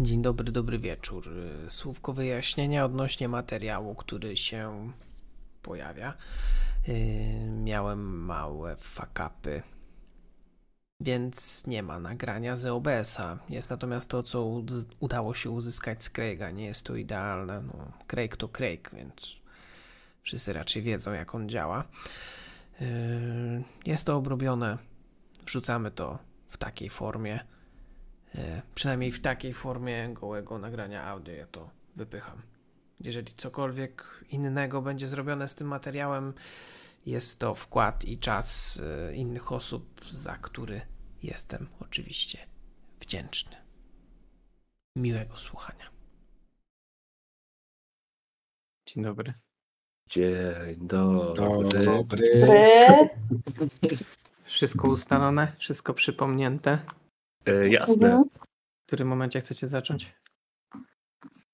Dzień dobry, dobry wieczór. Y, Słówko wyjaśnienia odnośnie materiału, który się pojawia. Y, Miałem małe fakapy, więc nie ma nagrania z E OBS-a. Jest natomiast to, co ud- udało się uzyskać z Craig'a. Nie jest to idealne. No, Craig to Craig, więc wszyscy raczej wiedzą, jak on działa. Y, Jest to obrobione. Wrzucamy to w takiej formie. E, przynajmniej w takiej formie gołego nagrania audio ja to wypycham. Jeżeli cokolwiek innego będzie zrobione z tym materiałem, jest to wkład i czas e, innych osób, za który jestem oczywiście wdzięczny. Miłego słuchania. Dzień dobry. Dzień dobry. Dobry. Dobry. Wszystko ustalone, wszystko przypomnięte. E, jasne. Mhm. W którym momencie chcecie zacząć?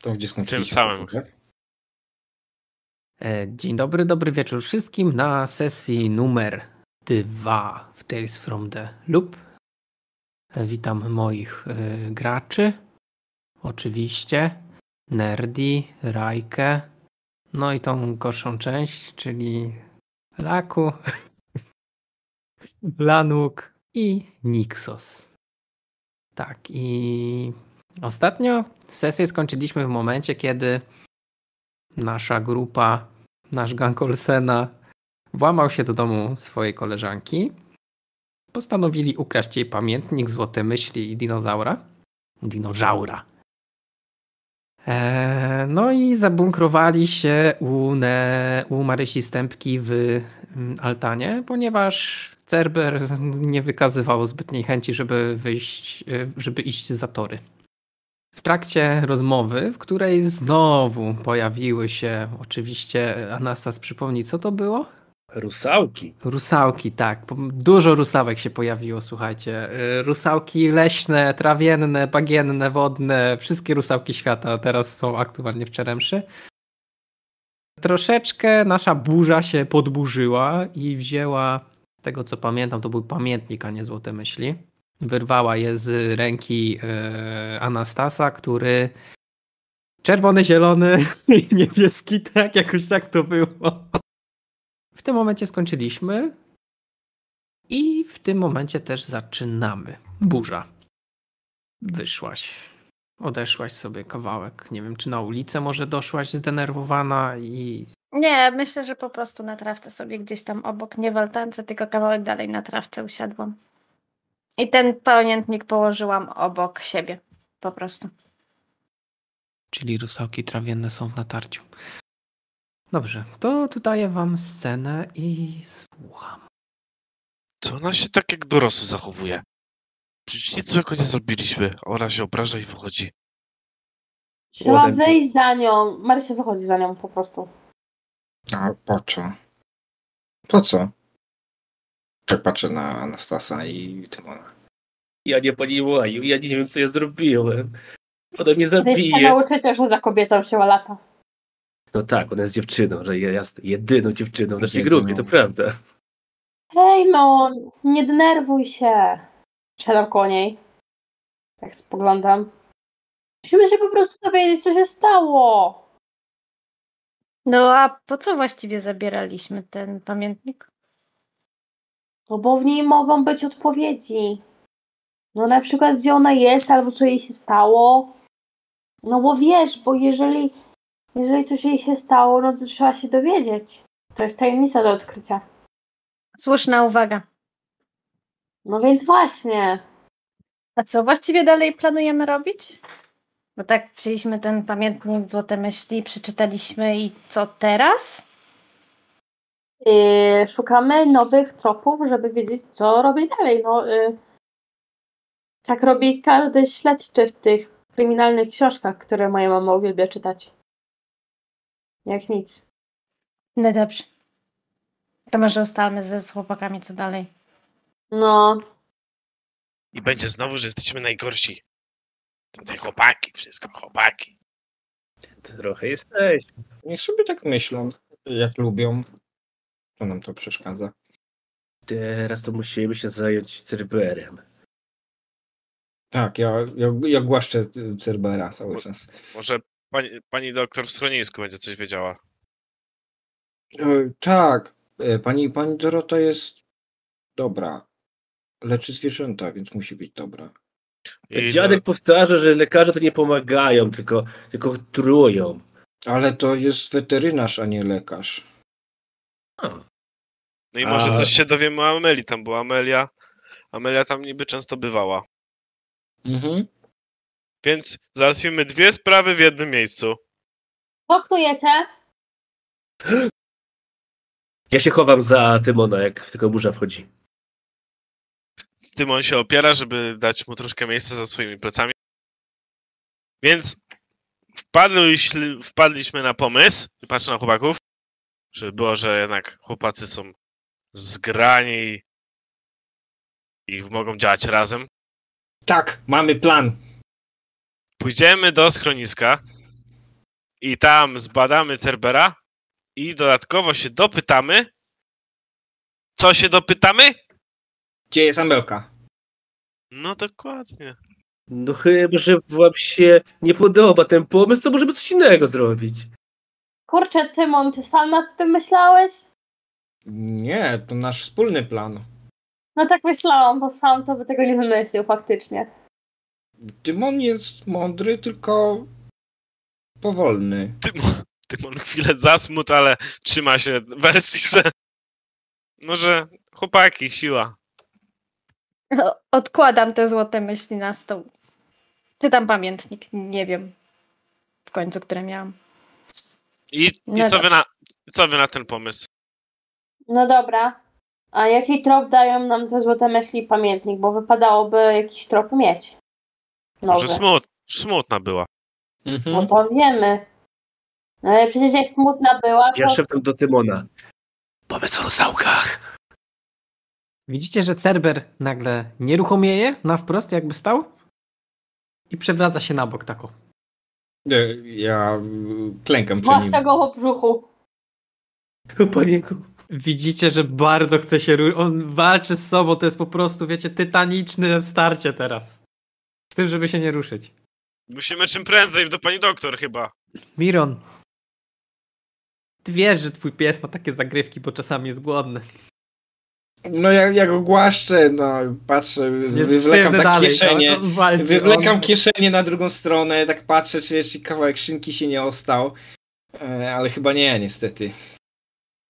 To gdzie skończyliśmy? Tym samym. tak? E, Dzień dobry, dobry wieczór wszystkim na sesji numer 2 w Tales from the Loop. E, Witam moich e, graczy. Oczywiście Nerdi, Rajkę, no i tą gorszą część, czyli Laku, Lanuk i Nixos. Tak, i ostatnio sesję skończyliśmy w momencie, kiedy nasza grupa, nasz gang Olsena włamał się do domu swojej koleżanki. Postanowili ukraść jej pamiętnik, złote myśli i dinozaura. Dinozaura. Eee, no i zabunkrowali się u, ne, u Marysi Stępki w mm, altanie, ponieważ Cerber nie wykazywał zbytniej chęci, żeby wyjść, e, żeby iść za tory. W trakcie rozmowy, w której znowu pojawiły się oczywiście Anastas przypomni, co to było? Rusałki. Rusałki, tak. Po- Dużo rusałek się pojawiło, słuchajcie. Y, Rusałki leśne, trawienne, bagienne, wodne, wszystkie rusałki świata teraz są aktualnie w Czeremszy. Troszeczkę nasza burza się podburzyła i wzięła, z tego co pamiętam, to był pamiętnik, a nie złote myśli. Wyrwała je z ręki y, Anastasa, który czerwony, zielony i niebieski, tak jakoś tak to było. W tym momencie skończyliśmy. I w tym momencie też zaczynamy. Burza. Wyszłaś. Odeszłaś sobie kawałek. Nie wiem, czy na ulicę może doszłaś zdenerwowana i. Nie, myślę, że po prostu na trawce sobie gdzieś tam obok, nie w altance, tylko kawałek dalej na trawce usiadłam. I ten pamiętnik położyłam obok siebie, po prostu. Czyli rusałki trawienne są w natarciu. Dobrze, to tu daję wam scenę i słucham. To ona się tak jak dorosły zachowuje. Przecież nic złego nie zrobiliśmy. a Ona się obraża i wychodzi. Trzeba Ładnie. wyjść za nią. Marysia wychodzi za nią po prostu. A po co? Po co? Tak patrzę na Anastasa i Tymona. Ja nie poniłaju, ja nie wiem, co ja zrobiłem. Ona mnie Gdzieś się zabije. nauczycie, że za kobietą się lata. No tak, ona jest dziewczyną, że ja jest jedyną dziewczyną w naszej Jedyną. grupie, Znaczy to prawda. Hej no, nie denerwuj się. Siadam koło niej. Tak spoglądam. Musimy się po prostu dowiedzieć, co się stało. No a po co właściwie zabieraliśmy ten pamiętnik? No bo w niej mogą być odpowiedzi. No na przykład gdzie ona jest, albo co jej się stało. No bo wiesz, bo jeżeli, jeżeli coś jej się stało, no to trzeba się dowiedzieć. To jest tajemnica do odkrycia. Słuszna uwaga. No więc właśnie. A co właściwie dalej planujemy robić? Bo tak wzięliśmy ten pamiętnik, złote myśli, przeczytaliśmy i co teraz? Yy, szukamy nowych tropów, żeby wiedzieć, co robić dalej. No, yy, tak robi każdy śledczy w tych kryminalnych książkach, które moja mama uwielbia czytać. Jak nic. No dobrze. To może ustalmy ze z chłopakami co dalej. No, I będzie znowu, że jesteśmy najgorsi. To te chłopaki, wszystko chłopaki. Trochę jesteś. Niech sobie tak myślą, jak lubią. To nam to przeszkadza. Teraz to musimy się zająć Cerberem. Tak, ja, ja, ja głaszczę y, Cerbera cały czas. Może pani, pani doktor w schronisku będzie coś wiedziała. E, Tak, e, pani, pani Dorota jest dobra. Leczy zwierzęta, więc musi być dobra. I no, Dziadek powtarza, że lekarze to nie pomagają, tylko, tylko trują. Ale to jest weterynarz, a nie lekarz. No i może A- coś się dowiemy o Ameli tam, bo Amelia, Amelia tam niby często bywała. Mhm. Więc załatwimy dwie sprawy w jednym miejscu. Co knujecie? Ja się chowam za Tymona, jak tylko burza wchodzi. Z tym on się opiera, żeby dać mu troszkę miejsca za swoimi plecami. Więc wpadliśmy, wpadliśmy na pomysł, i patrzę na chłopaków, żeby było, że jednak chłopacy są zgrani i, i mogą działać razem. Tak, mamy plan. Pójdziemy do schroniska i tam zbadamy Cerbera i dodatkowo się dopytamy. Co się dopytamy? Gdzie jest Amelka? No dokładnie. No chyba, że wam się nie podoba ten pomysł, to możemy coś innego zrobić. Kurczę, Tymon, ty sam nad tym myślałeś? Nie, to nasz wspólny plan. No tak myślałam, bo sam to by tego nie wymyślił faktycznie. Tymon jest mądry, tylko powolny. Tymon, Tymon chwilę zasmut, ale trzyma się wersji, że no, że chłopaki, siła. Odkładam te złote myśli na stół. Czytam pamiętnik, nie wiem w końcu, które miałam. I, i No co, wy na, co wy na ten pomysł? No dobra. A jaki trop dają nam te złote myśli i pamiętnik? Bo wypadałoby jakiś trop mieć. Może Nowy. smut, smutna była. Mhm. No to wiemy. No ale przecież jak smutna była, to... Ja szeptam do Tymona. Powiedz o rusałkach. Widzicie, że Cerber nagle nieruchomieje na wprost, jakby stał i przewraca się na bok tak tako. E, Ja y, klękam przed nim. Właśnie go po brzuchu. Panienko. Widzicie, że bardzo chce się. ru- On walczy z sobą, to jest po prostu, wiecie, tytaniczne starcie teraz. Z tym, żeby się nie ruszyć. Musimy czym prędzej do pani doktor chyba. Miron. Ty wiesz, że twój pies ma takie zagrywki, bo czasami jest głodny. No ja, ja go głaszczę, no patrzę, Jest wywlekam sztywny tak dalej. kieszenie. on walczy, Wywlekam on... kieszenie na drugą stronę, tak patrzę, czy jeszcze kawałek szynki się nie ostał. E, Ale chyba nie, niestety.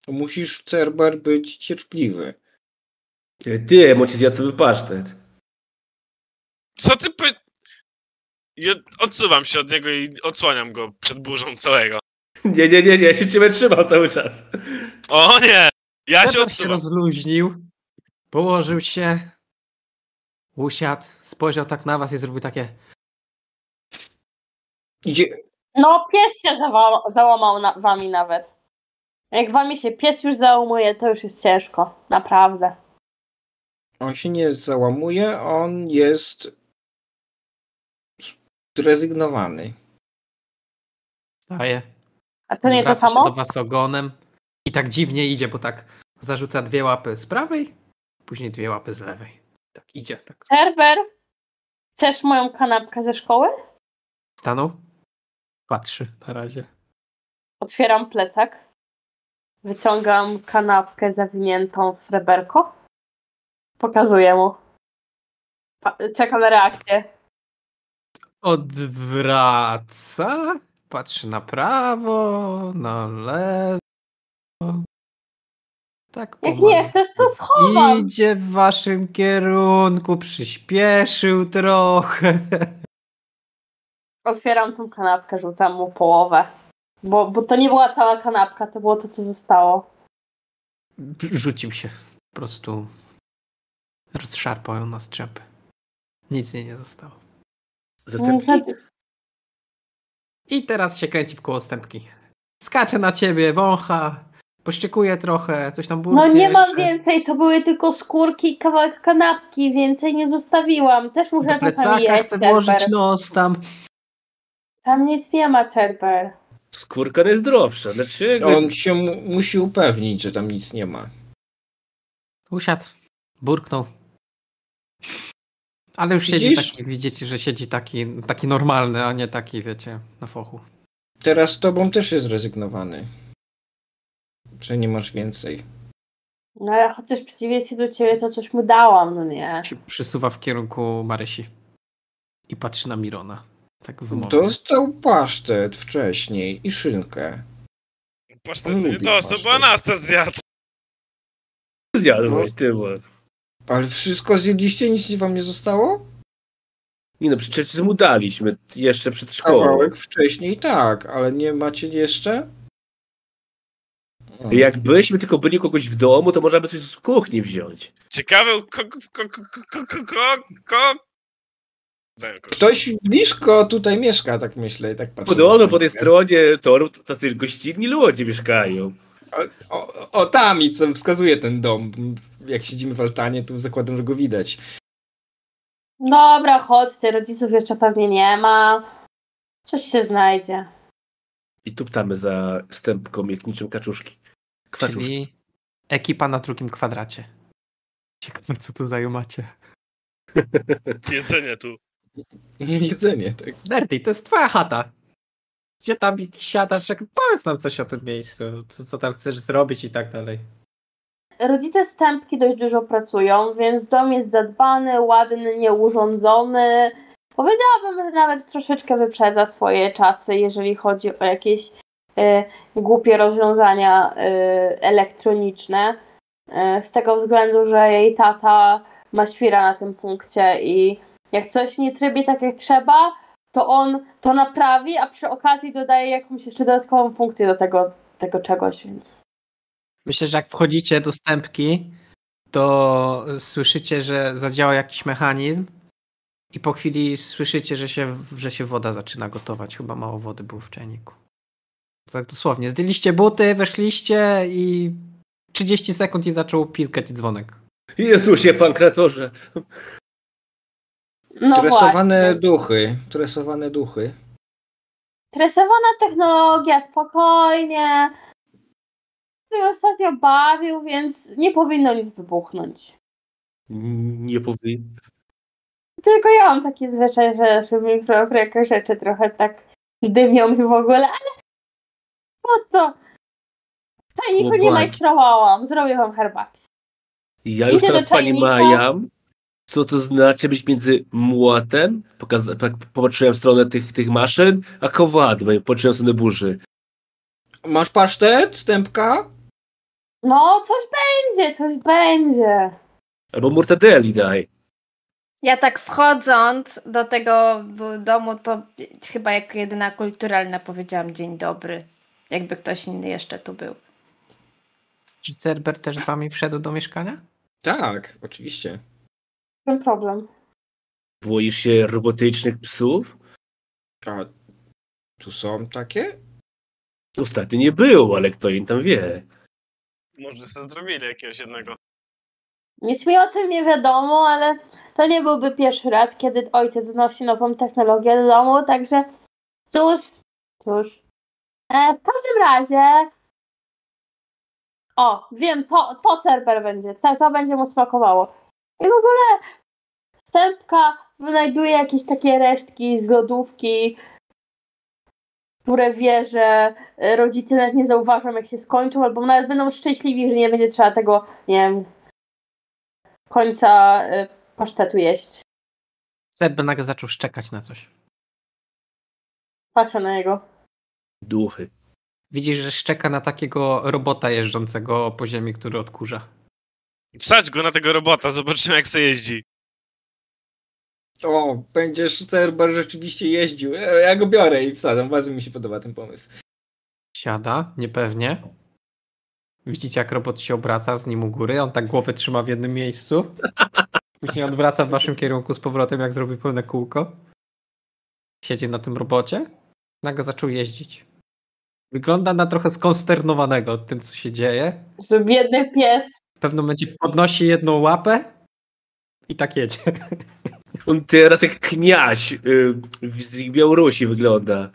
Musisz, Cerber, być cierpliwy. E, Ty, bo ci zjadł sobie pasztet. Co ty powie... Ja odsuwam się od niego i odsłaniam go przed burzą całego. Nie, nie, nie, nie, ja się ciebie trzymał cały czas. O nie! Ja się Cerber się odsuwam. rozluźnił, położył się, usiadł, spojrzał tak na was i zrobił takie. Idzie, No, pies się zawa- załamał na- wami nawet. Jak wami się pies już załamuje, to już jest ciężko. Naprawdę. on się nie załamuje, on jest zrezygnowany. Staje. A to nie to Wraca się do samo? was ogonem i tak dziwnie idzie, bo tak zarzuca dwie łapy z prawej, później dwie łapy z lewej. Tak idzie, tak. Serwer? Chcesz moją kanapkę ze szkoły? Stanął, patrzy na razie. Otwieram plecak. Wyciągam kanapkę zawiniętą w sreberko. Pokazuję mu. Pa- czekam na reakcję. Odwraca, patrzy na prawo, na lewo. Tak Jak powoli. nie chcesz, to schowam. Idzie w waszym kierunku, przyspieszył trochę. Otwieram tą kanapkę, rzucam mu połowę. Bo, bo to nie była cała kanapka, to było to, co zostało. Rzucił się. Po prostu rozszarpał ją na strzępy. Nic jej nie zostało. No, Zastępki? tak. I teraz się kręci w koło stępki. Skacze na ciebie, wącha, poszczekuje trochę, coś tam No burknie nie mam jeszcze. więcej, to były tylko skórki i kawałek kanapki, więcej nie zostawiłam. Też muszę Do czasami plecaka jeść chce cerber. włożyć nos tam. Tam nic nie ma cerber. Skórka Znaczy, najzdrowsza. Dlaczego? On się mu, musi upewnić, że tam nic nie ma. Usiadł, burknął. Ale już siedzi Widzisz? taki, widzicie, że siedzi taki, taki normalny, a nie taki, wiecie, na fochu. Teraz z tobą też jest zrezygnowany. Czy nie masz więcej? No ale chociaż w przeciwieństwie do ciebie to coś mu dałam, no nie? Się przysuwa w kierunku Marysi. I patrzy na Mirona. Tak wymownie. Dostał pasztet wcześniej i szynkę. Pasztet, Lubi nie to, to pasztet. była Anastazja. Zjadłeś, ty, bo... Ale wszystko zjedliście, nic wam nie zostało? Nie no, przecież mu daliśmy jeszcze przed szkołą. Kawałek wcześniej, tak, ale nie macie jeszcze? O. Jakbyśmy tylko byli kogoś w domu, to można by coś z kuchni wziąć. Ciekawe, u ko, ko, ko, ko, ko, ko, ko. Zajął kogoś. Ktoś blisko tutaj mieszka, tak myślę i tak patrzę. Podobno na po tej scenkę. stronie torów to tacy gościnni ludzie mieszkają. O, o tam i co wskazuje ten dom. Jak siedzimy w altanie, to zakładam, że go widać. Dobra, chodźcie, rodziców jeszcze pewnie nie ma. Coś się znajdzie. I tuptamy za stępką jak niczym kaczuszki. Kaczuszki. Czyli ekipa na drugim kwadracie. Ciekawe, co tutaj macie. Jedzenie tu. Jedzenie, tak. Berti, to jest twoja chata. Gdzie tam siadasz? Jak... Powiedz nam coś o tym miejscu, co, co tam chcesz zrobić i tak dalej. Rodzice stępki dość dużo pracują, więc dom jest zadbany, ładny, nieurządzony. Powiedziałabym, że nawet troszeczkę wyprzedza swoje czasy, jeżeli chodzi o jakieś e, głupie rozwiązania e, elektroniczne. E, z tego względu, że jej tata ma świra na tym punkcie i jak coś nie trybi tak jak trzeba, to on to naprawi, a przy okazji dodaje jakąś jeszcze dodatkową funkcję do tego, tego czegoś, więc. Myślę, że jak wchodzicie do stępki, to y, słyszycie, że zadziała jakiś mechanizm i po chwili słyszycie, że się, że się woda zaczyna gotować. Chyba mało wody było w czajniku. Tak dosłownie. Zdjęliście buty, weszliście i 30 sekund i zaczął piskać dzwonek. Jezusie, pankratorze! No Tresowane właśnie. duchy. Tresowane duchy. Tresowana technologia, spokojnie. Ty ostatnio bawił, więc nie powinno nic wybuchnąć. Nie powiem. Tylko ja mam taki zwyczaj, że, że mi pro- jakieś rzeczy trochę tak dymią mi w ogóle, ale po to. Czajniku nie Chłopaki. majstrowałam, zrobię wam herbatę. Ja już Idę do teraz pani czajnika. majam. Co to znaczy być między młotem, pokaza- tak popatrzyłem w stronę tych, tych maszyn, a kowadłem, patrzyłem w stronę burzy. Masz pasztet, stępka? No, coś będzie, coś będzie. Albo mortadeli daj. Ja tak wchodząc do tego w- domu, to chyba jako jedyna kulturalna powiedziałam dzień dobry. Jakby ktoś inny jeszcze tu był. Czy Cerber też z wami wszedł do mieszkania? Tak, oczywiście. Ten problem. Boisz się robotycznych psów? A tu są takie? Ostatnio nie było, ale kto im tam wie. Może sobie zrobili jakiegoś jednego. Nic mi o tym nie wiadomo, ale to nie byłby pierwszy raz, kiedy ojciec znosi nową technologię do domu, także cóż, cóż. E, w każdym razie. O, wiem, to, to cerber będzie. To, to będzie mu smakowało. I w ogóle stępka wynajduje jakieś takie resztki z lodówki, które wie, że e, rodzice nawet nie zauważą, jak się skończą, albo nawet będą szczęśliwi, że nie będzie trzeba tego, nie wiem, końca y, pasztetu jeść. Cerber nagle zaczął szczekać na coś. Patrzę na niego. Duchy. Widzisz, że szczeka na takiego robota jeżdżącego po ziemi, który odkurza. Wsadź go na tego robota, zobaczymy jak se jeździ. O, będziesz Cerber rzeczywiście jeździł. E, Ja go biorę i wsadzam. Bardzo mi się podoba ten pomysł. Siada, niepewnie. Widzicie, jak robot się obraca z nim u góry. On tak głowę trzyma w jednym miejscu. Później odwraca w waszym kierunku z powrotem, jak zrobi pełne kółko. Siedzi na tym robocie. Nagle zaczął jeździć. Wygląda na trochę skonsternowanego tym, co się dzieje. Że Biedny pies. W pewnym momencie podnosi jedną łapę i tak jedzie. On teraz jak kniaś y, w- z Białorusi wygląda.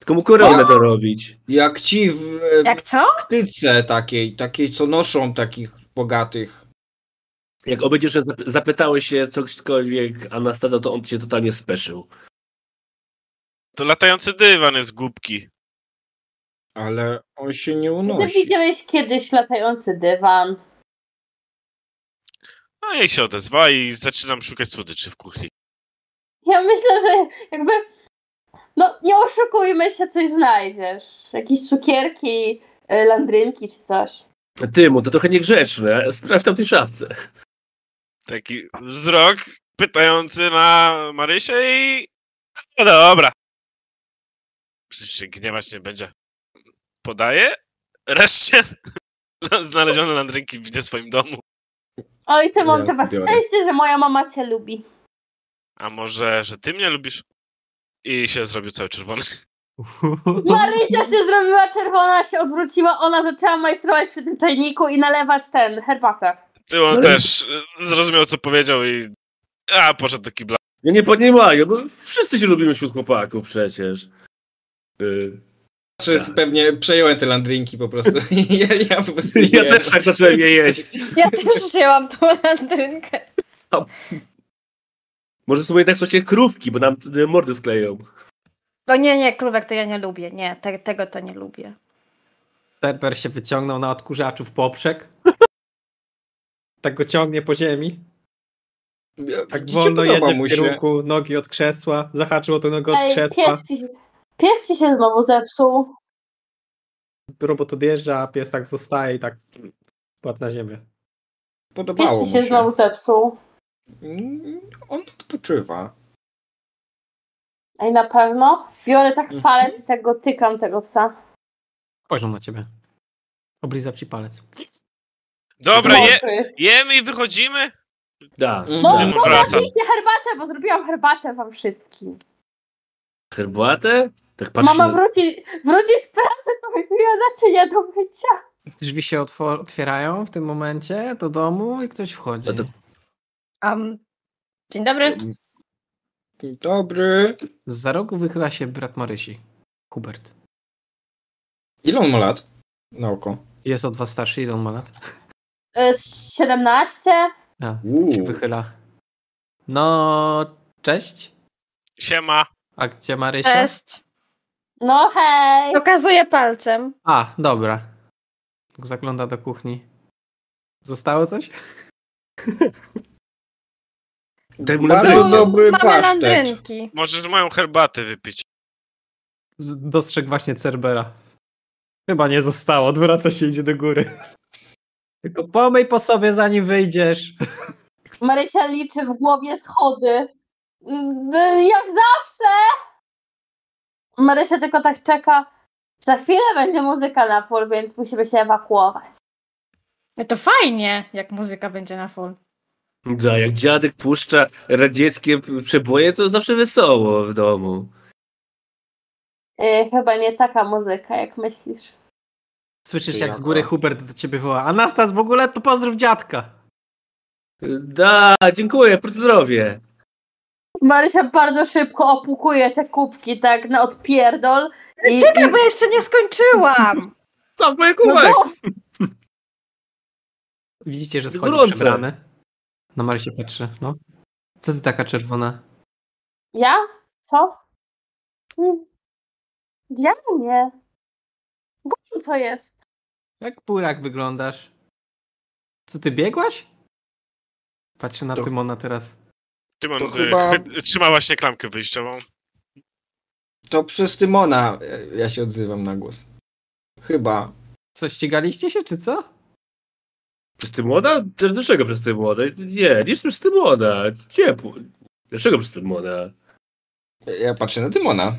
Tylko mu koronę to robić. Jak ci w, Jak co? w tyce takiej, takiej co noszą takich bogatych. Jak obejdziesz, że zap- zapytałeś się cokolwiek Anastazja, to on cię totalnie speszył. To latający dywan jest głupki. Ale on się nie Ty unosi. widziałeś kiedyś latający dywan. No i się odezwa i zaczynam szukać słodyczy w kuchni. Ja myślę, że jakby. No, nie oszukujmy się, coś znajdziesz. Jakieś cukierki, y, landrynki czy coś. Ty mu, to trochę niegrzeczne. Sprawdź tam tej szafce. Taki wzrok pytający na Marysię i... No dobra. Przecież się gniewać nie będzie. Podaję. Reszcie no, znalezione landrynki widzę w swoim domu. Oj, ty mam Ja chyba biorę. szczęście, że moja mama cię lubi. A może, że ty mnie lubisz? I się zrobił cały czerwony. Marysia się zrobiła czerwona, się odwróciła, ona zaczęła majstrować przy tym czajniku i nalewać ten, herbatę. Ty on Ale- też y, zrozumiał, co powiedział i... A, poszedł do kibla. Ja nie podniemają, bo wszyscy się lubimy wśród chłopaków przecież. Y, Znaczy, Tak. pewnie przejąłem te landrinki po prostu. ja, ja po prostu Ja nie- też tak zacząłem je jeść. Ja też wzięłam tą landrynkę. Może są jednak słuchajcie krówki, bo nam y, mordy skleją. No nie, nie, krówek to ja nie lubię. Nie, te, tego to nie lubię. Terper się wyciągnął na odkurzaczu w poprzek. Tak go ciągnie po ziemi. Ja- Tak nie wolno podoba jedzie mu w się. kierunku nogi od krzesła. Zahaczyło to nogę od Ej, krzesła. pies ci, pies ci się znowu zepsuł. Robot odjeżdża, a pies tak zostaje i tak spadł na ziemię. Pies Podobało mu ci się się. znowu zepsuł. Mm, On odpoczywa. Ej, na pewno. Biorę tak Mhm. palec i tak go tykam, tego psa. Spojrzał na ciebie. Oblizał ci palec. Dobra, No, je, Mokry. jemy i wychodzimy? Tak. No, Mm. Dym dobra, wraca. pijcie herbatę, bo zrobiłam herbatę wam wszystkim. Herbatę? Tak patrzę. Mama wróci, wróci z pracy, to wypiła naczynia do mycia. Drzwi się otwor- otwierają w tym momencie do domu i ktoś wchodzi. A to- Um, dzień dobry. Dzień Dobry. Z rogu wychyla się brat Marysi. Hubert. Ile on ma lat? Na oko. Jest od was starszy, ile on ma lat? Y, z 17? A, Uuu. się wychyla. No, cześć. Siema. A gdzie Marysia? E, Cześć. No hej! Pokazuję palcem. A, dobra. Tak Zagląda do kuchni. Zostało coś? Daj mu Bardzo landrynkę. dobry Mamy pasztet. landrynki. Możesz moją herbatę wypić. Z- Dostrzegł właśnie Cerbera. Chyba nie zostało, odwraca się idzie do góry. Tylko pomyj po sobie, zanim wyjdziesz. Marysia liczy w głowie schody. Y, Jak zawsze! Marysia tylko tak czeka. Za chwilę będzie muzyka na full, więc musimy się ewakuować. No to fajnie, jak muzyka będzie na full. Da, jak dziadek puszcza radzieckie p- przeboje, to zawsze wesoło w domu. Y, chyba nie taka muzyka, jak myślisz. Słyszysz, Ty jak z jako? góry Hubert do ciebie woła. Anastas, w ogóle to pozdrów dziadka. Da, dziękuję, zdrowie. Marysia bardzo szybko opukuje te kubki, tak, na odpierdol. I, Czekaj, bo jeszcze nie skończyłam. Tam moje no kubek. dobrze. Widzicie, że Jest schodzi gorące. przebrany. Na Marysię patrzy, no. Co ty taka czerwona? Ja? Co? Mm. Ja nie. Bo co jest? Jak burak wyglądasz? Co ty biegłaś? Patrzę na To- Tymona teraz. Tymon To y, chyba- chwy- trzyma właśnie klamkę wyjściową. To przez Tymona e, ja się odzywam na głos. Chyba. Co, ścigaliście się, czy co? Przez ty młoda? Też Dlaczego przez ty młoda? Nie, nie przez ty młoda. Ciepło. Dlaczego przez ty młoda? e, Ja patrzę na Tymona.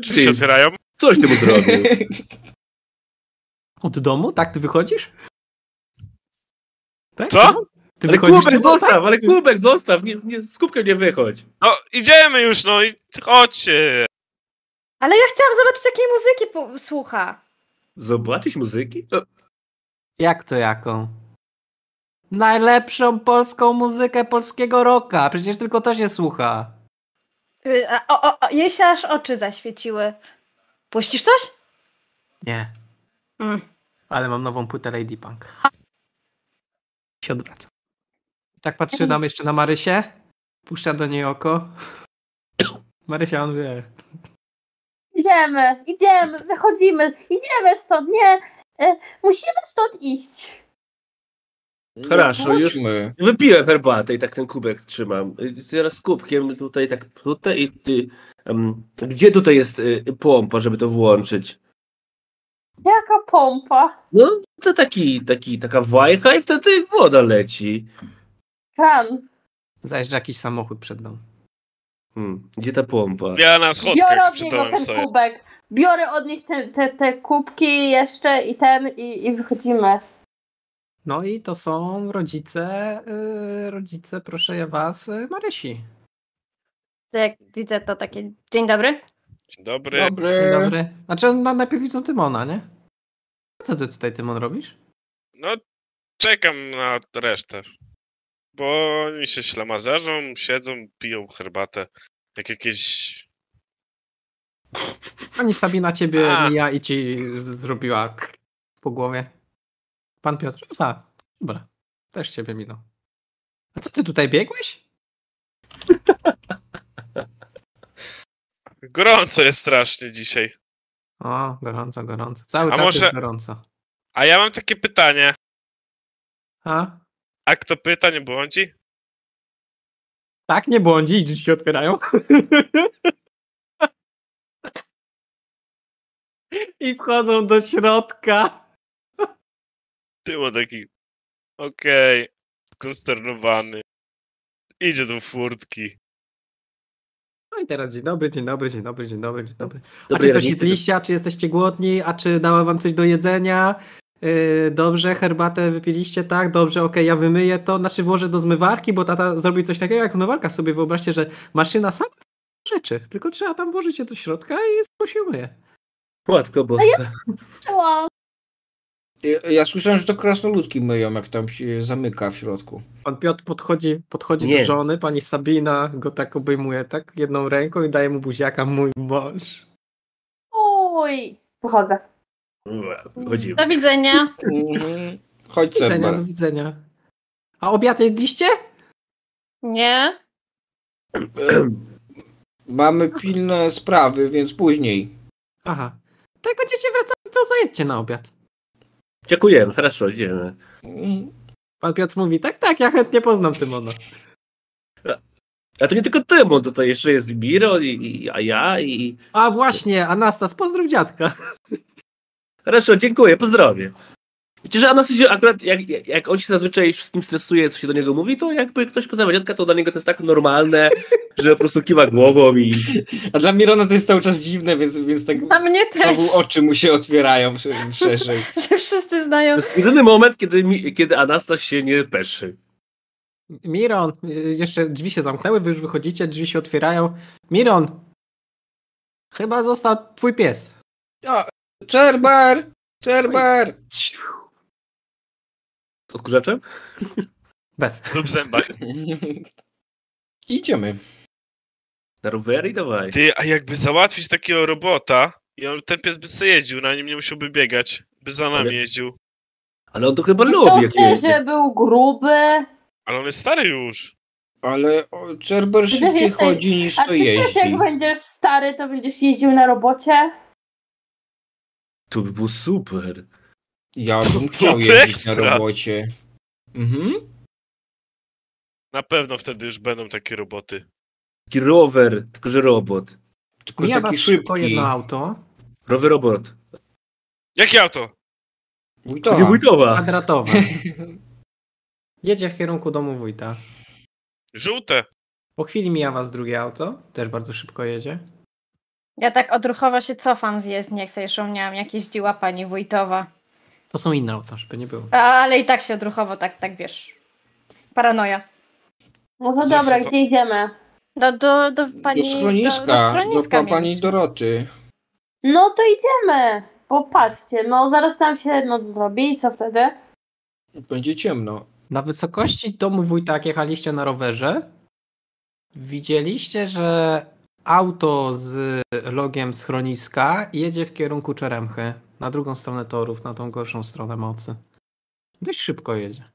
Drzwi się Ty. otwierają. Coś ty mu zrobił. Od domu? Tak, ty wychodzisz? Tak? Co? Ty Ale wychodzisz kubek ty tak? zostaw, ale kubek zostaw. Nie, nie, z kubkiem nie wychodź. No, idziemy już, no i chodźcie. Ale ja chciałam zobaczyć, jakiej muzyki pu- słucha. Zobaczyć muzyki? No, O, Jak to jaką? Najlepszą polską muzykę polskiego rocka. Przecież tylko to się słucha. Y, a- O, o, o, jej się aż oczy zaświeciły. Puścisz coś? Nie. Mm. Ale mam nową płytę Lady Punk. się odwraca. Tak patrzy nam jeszcze na Marysię, puszcza do niej oko. Marysia, on wie. Idziemy, idziemy, wychodzimy, idziemy stąd, nie. E, musimy stąd iść. Хорошо, już- No, Chodźmy. Wypiłem herbatę i tak ten kubek trzymam. Y, Teraz kubkiem tutaj, tak tutaj i ty. em, gdzie tutaj jest y, pompa, żeby to włączyć? Jaka pompa. No, to taki, taki, taka wajcha i wtedy woda leci. Kran. Zajeżdża jakiś samochód przed nami. Hmm, gdzie ta pompa? Ja na Biorę schodkach od przy niego domem ten stoję. kubek. Biorę od nich te, te, te kubki jeszcze i ten i, i wychodzimy. No i to są rodzice, y, rodzice, proszę ja was, y, Marysi. To jak widzę to takie, dzień dobry. Dzień dobry. Dzień E. Dobry. dobry. Znaczy na, najpierw widzą Tymona, nie? Co ty tutaj, Tymon, robisz? No, czekam na resztę. Bo oni się ślamazarzą, siedzą, piją herbatę. Jak jakieś... Pani Sabina ciebie A. mija i ci z- zrobiła k- po głowie. Pan Piotr? A, dobra. Też ciebie minął. A co ty tutaj biegłeś? Gorąco jest strasznie dzisiaj. O, gorąco, gorąco. Cały A czas może- jest gorąco. A ja mam takie pytanie. A? A kto pyta, nie błądzi? Tak nie błądzi i drzwi się otwierają. I wchodzą do środka. Ty ma taki... Okej. Skonsternowany. Idzie do furtki. No i teraz dzień dobry, dzień dobry, dzień dobry, dzień dobry, dzień dobry. Dobry a czy coś radnik, jedliście, a czy jesteście głodni, a czy dałem wam coś do jedzenia? Yy, dobrze, herbatę wypiliście, tak, dobrze, okej, ja wymyję to, znaczy włożę do zmywarki, bo tata zrobi coś takiego jak zmywarka sobie, wyobraźcie, że maszyna sama rzeczy, tylko trzeba tam włożyć je do środka i to się myje. Matko Boska. Czoła. Ja, ja słyszałem, że to krasnoludki myją, jak tam się zamyka w środku. Pan Piotr podchodzi, podchodzi do Nie. żony, pani Sabina go tak obejmuje, tak, jedną ręką i daje mu buziaka, mój mąż. Oj. Wychodzę. Chodzimy. Do widzenia. Mhm. Chodź, Do widzenia, Cerber. do widzenia. A obiad jedliście? Nie? Mamy pilne sprawy, więc później. Aha. Tak będziecie wracali, to zajedźcie na obiad. Dziękujemy, no, хорошо, idziemy. Mhm. Pan Piotr mówi, tak, tak, ja chętnie poznam Tymona. A to nie tylko ty, bo tutaj jeszcze jest Miro, i, i, a ja i... i- A właśnie, Anastas, pozdrów dziadka. Хорошо, dziękuję, pozdrowie. Wiecie, że Anas się akurat, jak, jak- jak on się zazwyczaj wszystkim stresuje, co się do niego mówi, to jakby ktoś poza dziadka, to dla niego to jest tak normalne, że po prostu kiwa głową i... A dla Mirona to jest cały czas dziwne, więc, więc tak A mnie też, znowu oczy mu się otwierają sz- szerzej. że wszyscy znają. To jest jedyny moment, kiedy, mi- kiedy Anastas się nie peszy. Miron, y, jeszcze drzwi się zamknęły, wy już wychodzicie, drzwi się otwierają. Miron, chyba został twój pies. Czerber! Czerber! Z Odkurzaczem? Bez. Lub w zębach. Idziemy. Na rower i dawaj. Ty, a jakby załatwić takiego robota i on, ten pies by sobie jeździł, na nim nie musiałby biegać. By za nami Ale- jeździł. Ale on to chyba Co lubi. jak chcesz, jeździ. że był gruby? Ale on jest stary już. Ale o, Czerber też szybciej jesteś- chodzi niż A to ty też jeździ. jak będziesz stary, to będziesz jeździł na robocie? To by było super. Ja To bym chciał było jeździć na ekstra. robocie. Mhm. Na pewno wtedy już będą takie roboty. Taki rower, tylko że robot. Tylko Mija was taki szybko szybki. jedno auto, Rower robot. Tak. Jakie auto? Wójtowa. To nie wójtowa. kwadratowe. Jedzie w kierunku domu wójta. Żółte. Po chwili mija was drugie auto, też bardzo szybko jedzie. Ja tak odruchowo się cofam z jezdni, jak sobie szumniałam, jak jeździła pani wójtowa. To są inne auta, żeby nie było. A, ale i tak się odruchowo, tak, tak wiesz. Paranoja. No to Zasuwa- dobra, gdzie idziemy? Do, do, do pani. do schroniska, Do, do schroniska pa- pani mieliśmy. Doroty. No to idziemy. Popatrzcie, no zaraz nam się noc zrobi i co wtedy? Będzie ciemno. Na wysokości domu wójta, jak tak, jechaliście na rowerze, widzieliście, że auto z logiem schroniska jedzie w kierunku Czeremchy, na drugą stronę torów, na tą gorszą stronę mocy. Dość szybko jedzie.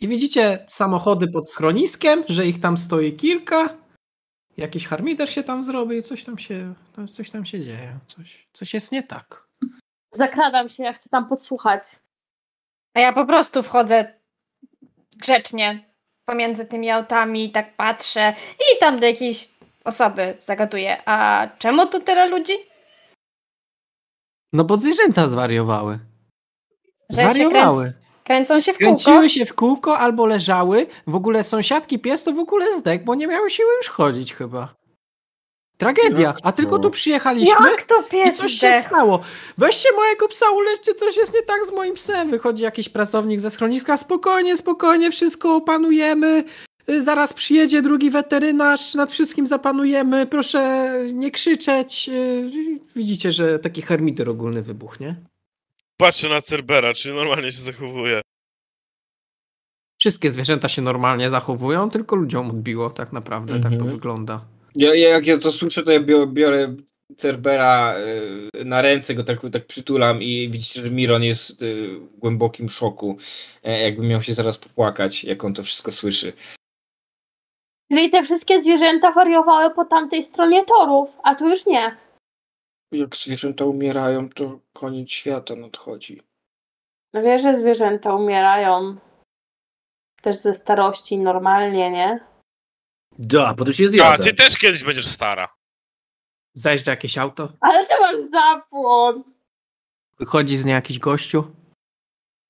I widzicie samochody pod schroniskiem, że ich tam stoi kilka. Jakiś harmider się tam zrobił, coś tam się, no, coś tam się dzieje, coś, coś jest nie tak. Zakradam się, ja chcę tam podsłuchać. A ja po prostu wchodzę grzecznie pomiędzy tymi autami, tak patrzę i tam do jakiejś osoby zagaduję. A czemu tu tyle ludzi? No bo zwierzęta zwariowały. Że się Zwariowały. Kręcą się w kółko. Kręciły się w kółko albo leżały. W ogóle sąsiadki pies to w ogóle zdek, bo nie miały siły już chodzić chyba. Tragedia. A tylko tu przyjechaliśmy Jak to i pies coś się zdech? stało. Weźcie mojego psa, uleczcie, coś jest nie tak z moim psem. Wychodzi jakiś pracownik ze schroniska. Spokojnie, spokojnie, wszystko opanujemy. Y, Zaraz przyjedzie drugi weterynarz, nad wszystkim zapanujemy. Proszę nie krzyczeć. Y, Widzicie, że taki hermiter ogólny wybuch, nie? Patrzę na Cerbera, czy normalnie się zachowuje. Wszystkie zwierzęta się normalnie zachowują, tylko ludziom odbiło tak naprawdę, tak to Mhm. wygląda. Ja, ja, jak ja to słyszę, to ja biorę, biorę Cerbera y, na ręce, go tak, tak przytulam i widzicie, że Miron jest y, w głębokim szoku. E, Jakby miał się zaraz popłakać, jak on to wszystko słyszy. Czyli te wszystkie zwierzęta wariowały po tamtej stronie torów, a tu już nie. Jak zwierzęta umierają, to koniec świata nadchodzi. No Wiesz, że zwierzęta umierają też ze starości normalnie, nie? Da, potem się A, zjada. ty też kiedyś będziesz stara. Zajeżdża jakieś auto, Ale ty masz zapłon. wychodzi z niej jakiś gościu,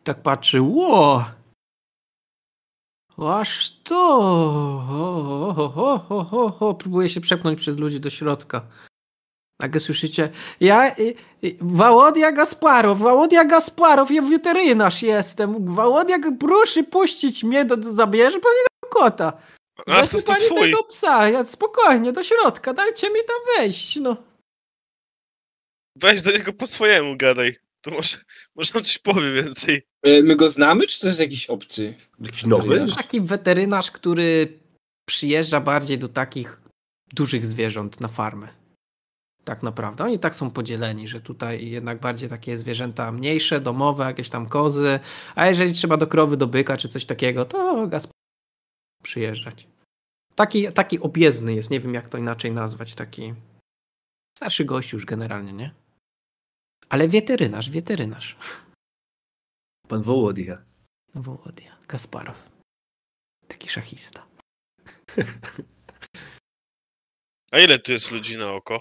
tak patrzy, ło! Aż to! Ho, ho, ho, ho, ho, ho. Próbuje się przepchnąć przez ludzi do środka. Nagle słyszycie, ja, y, y, Wałodia Gasparow, Wałodia Gasparow, ja weterynarz jestem, Wałodia, proszę puścić mnie, do, do, zabierze pani tego kota. Aż to jest to Zasypali twój. No tego psa, ja spokojnie, do środka, dajcie mi tam wejść, no. Weź do niego po swojemu gadaj. To może, może on coś powie więcej. E, My go znamy, czy to jest jakiś obcy? Jakiś To nowy? jest taki weterynarz, który przyjeżdża bardziej do takich dużych zwierząt na farmy. Tak naprawdę. Oni tak są podzieleni, że tutaj jednak bardziej takie zwierzęta mniejsze, domowe, jakieś tam kozy, a jeżeli trzeba do krowy, do byka czy coś takiego, to gaz przyjeżdżać. Taki, taki objezdny jest, nie wiem jak to inaczej nazwać, taki starszy gość już generalnie, nie? Ale weterynarz, weterynarz. Pan Wołodia. Wołodia, Kasparow. Taki szachista. A ile tu jest ludzi na oko?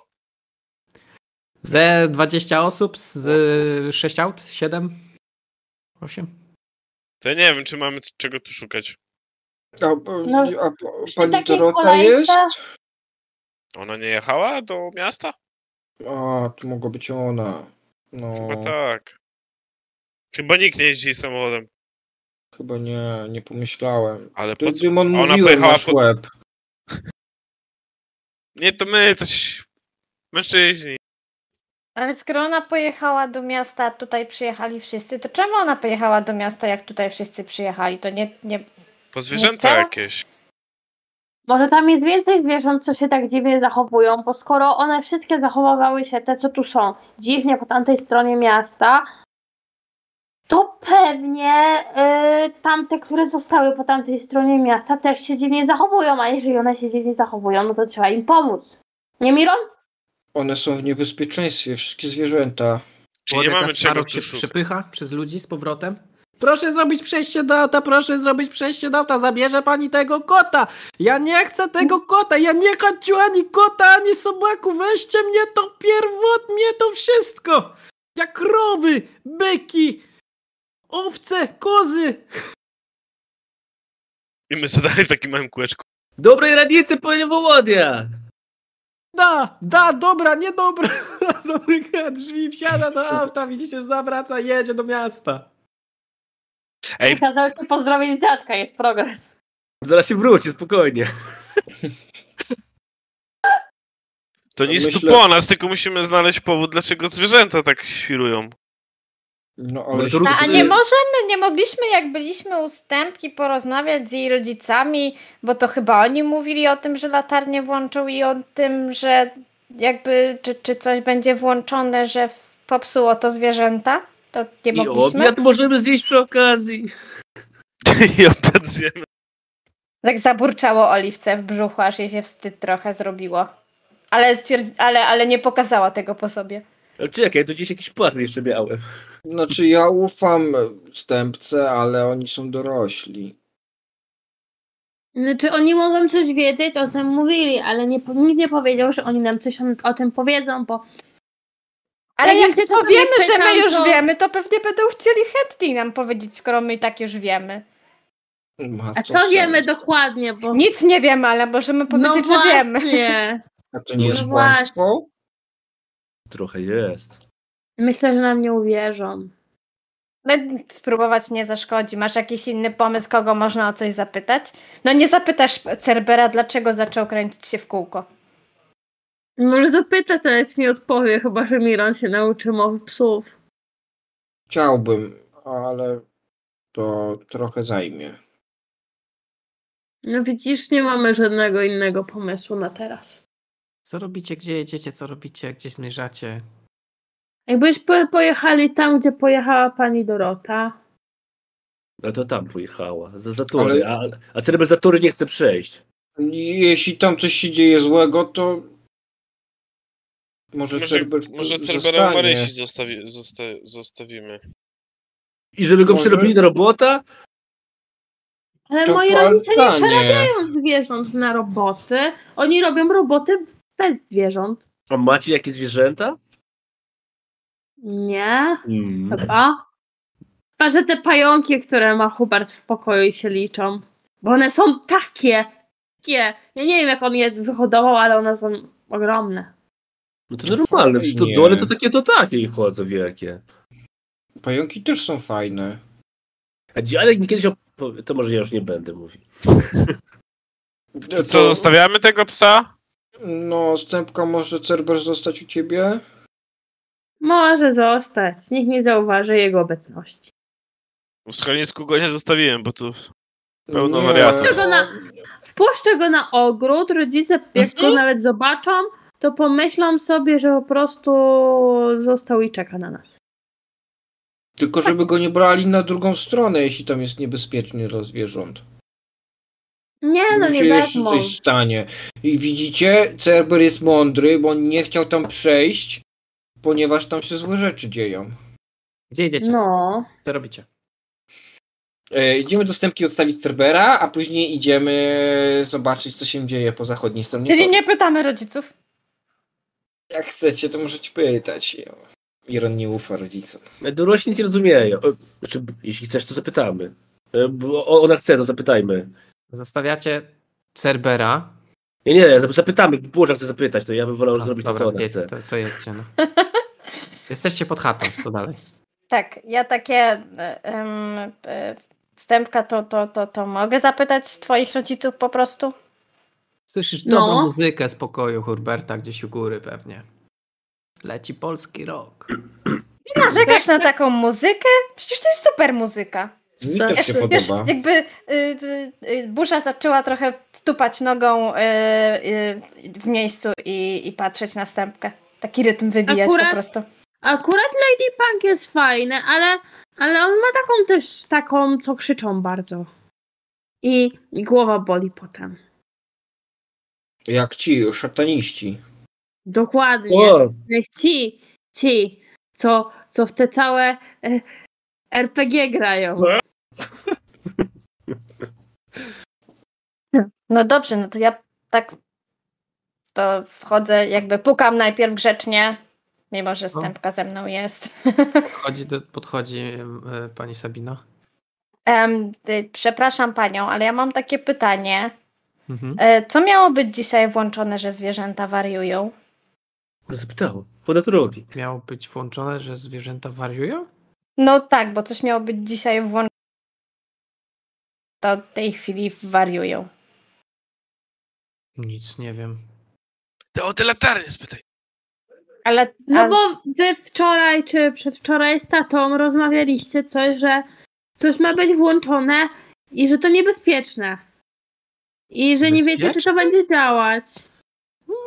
Ze 20 osób, z 6 aut, 7, 8. To ja nie wiem, czy mamy c- czego tu szukać. A, a, No, a, przy pani takiej Dorota kolejce- jest? Ona nie jechała do miasta? A, to mogła być ona. No, Chyba tak. Chyba nikt nie jeździ samochodem. chyba nie, nie pomyślałem. Ale To po co? Dymon ona mówiłem, pojechała masz po- łeb. Nie, to my coś... Mężczyźni. Ale skoro ona pojechała do miasta, a tutaj przyjechali wszyscy, to czemu ona pojechała do miasta, jak tutaj wszyscy przyjechali? To nie, nie Po zwierzęta chciała? jakieś. Może tam jest więcej zwierząt, co się tak dziwnie zachowują, bo skoro one wszystkie zachowywały się, te co tu są, dziwnie po tamtej stronie miasta, to pewnie y, tamte, które zostały po tamtej stronie miasta, też się dziwnie zachowują, a jeżeli one się dziwnie zachowują, no to trzeba im pomóc. Nie, Miron? One są w niebezpieczeństwie, wszystkie zwierzęta. Czy nie mamy czego Starów tu się szukać? przepycha przez ludzi z powrotem. Proszę zrobić przejście do auta, proszę zrobić przejście do auta, zabierze pani tego kota! Ja nie chcę tego kota, ja nie chcę ani kota, ani sobaku, weźcie mnie to pierwot, mnie to wszystko! Jak krowy, byki, owce, kozy! I my sobie dalej w takim małym kółeczku. Dobrej radnicy, panie Wołodia! Da, da, dobra, niedobra! Zamyka drzwi, wsiada do auta, widzicie, że zawraca, jedzie do miasta. Ej, Kazał ci pozdrowić dziadka, jest progres. Zaraz się wróci, spokojnie. to nic tu Myślę- po nas, tylko musimy znaleźć powód, dlaczego zwierzęta tak świrują. No, Może ale to No, a Różne- nie możemy, nie mogliśmy, jak byliśmy ustępki, porozmawiać z jej rodzicami, bo to chyba oni mówili o tym, że latarnie włączył i o tym, że jakby, czy, czy coś będzie włączone, że w- popsuło to zwierzęta? To nie I mogliśmy? obiad możemy zjeść przy okazji. I obiad zjemy. Tak zaburczało Oliwce w brzuchu, aż jej się wstyd trochę zrobiło. Ale, stwierdzi- ale, ale nie pokazała tego po sobie. Ale Czekaj, to gdzieś jakiś płaszcz jeszcze miałem. Znaczy ja ufam wstępce, ale oni są dorośli. Znaczy oni mogą coś wiedzieć, o tym mówili, ale nie, nikt nie powiedział, że oni nam coś o, o tym powiedzą, bo Ale Ja jak nigdy tego nie powiemy, że my pytam, już to- wiemy, to pewnie będą chcieli chętniej nam powiedzieć, skoro my i tak już wiemy. Ma a to co sens. wiemy dokładnie, bo... Nic nie wiemy, ale możemy no powiedzieć, że wiemy. właśnie. A to nie jest No kłamstwo? Trochę jest. Myślę, że nam nie uwierzą. No, spróbować nie zaszkodzi. Masz jakiś inny pomysł, kogo można o coś zapytać? No nie zapytasz Cerbera, dlaczego zaczął kręcić się w kółko. Może zapyta, teraz nie odpowie, chyba że Miron się nauczy mowy psów. Chciałbym, ale to trochę zajmie. No widzisz, nie mamy żadnego innego pomysłu na teraz. Co robicie, gdzie jedziecie, co robicie, gdzie zmierzacie? Jakbyśmy pojechali tam, gdzie pojechała pani Dorota. No to tam pojechała. Za zatory. A, a Cerber zatory nie chce przejść. Jeśli tam coś się dzieje złego, to może, Może, Cerber może Cerbera u zostanie. Marysi zostawi, zosta, zostawimy. I żeby go Może- przerobili do robota? Ale To moi rodzice nie płakanie. przerabiają zwierząt na roboty. Oni robią roboty bez zwierząt. A macie jakieś zwierzęta? Nie, Mm. Tak. chyba. Chyba, że te pająki, które ma Hubert w pokoju się liczą. Bo one są takie, takie. Ja nie wiem, jak on je wyhodował, ale one są ogromne. No to normalne. W stodole to takie to takie chodzą wielkie. Pająki też są fajne. A dziadek mi kiedyś opowie... To może ja już nie będę mówił. To co, zostawiamy tego psa? No, stępka może Cerber zostać u ciebie? Może zostać. Nikt nie zauważy jego obecności. W schronisku go nie zostawiłem, bo tu Pełno wariatów. Czego na- Wpuszczę go na ogród, rodzice jak go nawet zobaczą, to pomyślą sobie, że po prostu został i czeka na nas. Tylko żeby go nie brali na drugą stronę, jeśli tam jest niebezpiecznie dla zwierząt. Nie no, Mu nie się jeszcze wezmą. coś stanie. I widzicie, Cerber jest mądry, bo on nie chciał tam przejść, ponieważ tam się złe rzeczy dzieją. Gdzie jedziecie? No. Co robicie? E, idziemy do stępki odstawić Cerbera, a później idziemy zobaczyć, co się dzieje po zachodniej stronie. Czyli To- nie pytamy rodziców. Jak chcecie, to możecie pytać. Iron nie ufa rodzicom. Dorośli nic nie rozumieją. E, Znaczy, jeśli chcesz, to zapytamy. E, Bo o- ona chce, to zapytajmy. Zostawiacie Cerbera. Nie, nie, zap- zapytamy. Boże, chce zapytać, to ja bym wolał A, zrobić dobra, to, co ona jedź- chce. to, to jedźcie. No. Jesteście pod chatą, co dalej? Tak, ja takie um, wstępka to, to, to, to mogę zapytać z twoich rodziców po prostu? Słyszysz No. dobrą muzykę z pokoju Hurberta gdzieś u góry pewnie. Leci polski rok. Nie narzekasz na taką muzykę? Przecież to jest super muzyka. Mi też się Wiesz, wiesz, podoba. jakby y, y, y, burza zaczęła trochę stupać nogą y, y, w miejscu i, i patrzeć na stępkę. Taki rytm wybijać Akurat- po prostu. Akurat Lady Punk jest fajny, ale, ale on ma taką też, taką, co krzyczą bardzo. I, i głowa boli potem. Jak ci szataniści. Dokładnie. O, Niech ci, ci, co, co w te całe e, RPG grają. No dobrze, no to ja tak to wchodzę, jakby pukam najpierw grzecznie, mimo że No. stępka ze mną jest. Podchodzi, do, podchodzi e, pani Sabina. Em, y, przepraszam panią, ale ja mam takie pytanie. Mhm. E, co miało być dzisiaj włączone, że zwierzęta wariują? zapytała. Ona to robi. Miało być włączone, że zwierzęta wariują? No tak, bo coś miało być dzisiaj włączone. To od tej chwili wariują. Nic, nie wiem. Te o te latarnie spytaj. Ale No a- bo wy wczoraj czy przedwczoraj z tatą rozmawialiście coś, że coś ma być włączone i że to niebezpieczne. I że nie wiecie, czy to będzie działać.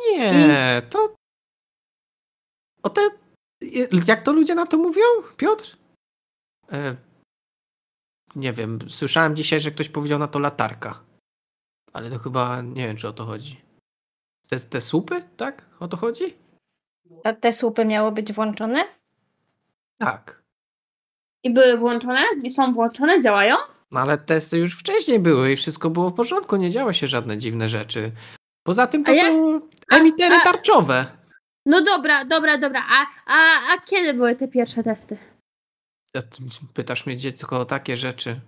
Nie, E, to... O te... Jak to ludzie na to mówią, Piotr? E, nie wiem, słyszałem dzisiaj, że ktoś powiedział na to latarka. Ale to chyba nie wiem, czy o to chodzi. Te, te słupy, tak? O to chodzi? A te słupy miały być włączone? Tak. I były włączone? I są włączone? Działają? No ale testy już wcześniej były i wszystko było w porządku, nie działy się żadne dziwne rzeczy. Poza tym to A ja- są emitery a- tarczowe. No dobra, dobra, dobra. A, a, a kiedy były te pierwsze testy? Ja tu- Pytasz mnie dziecko o takie rzeczy.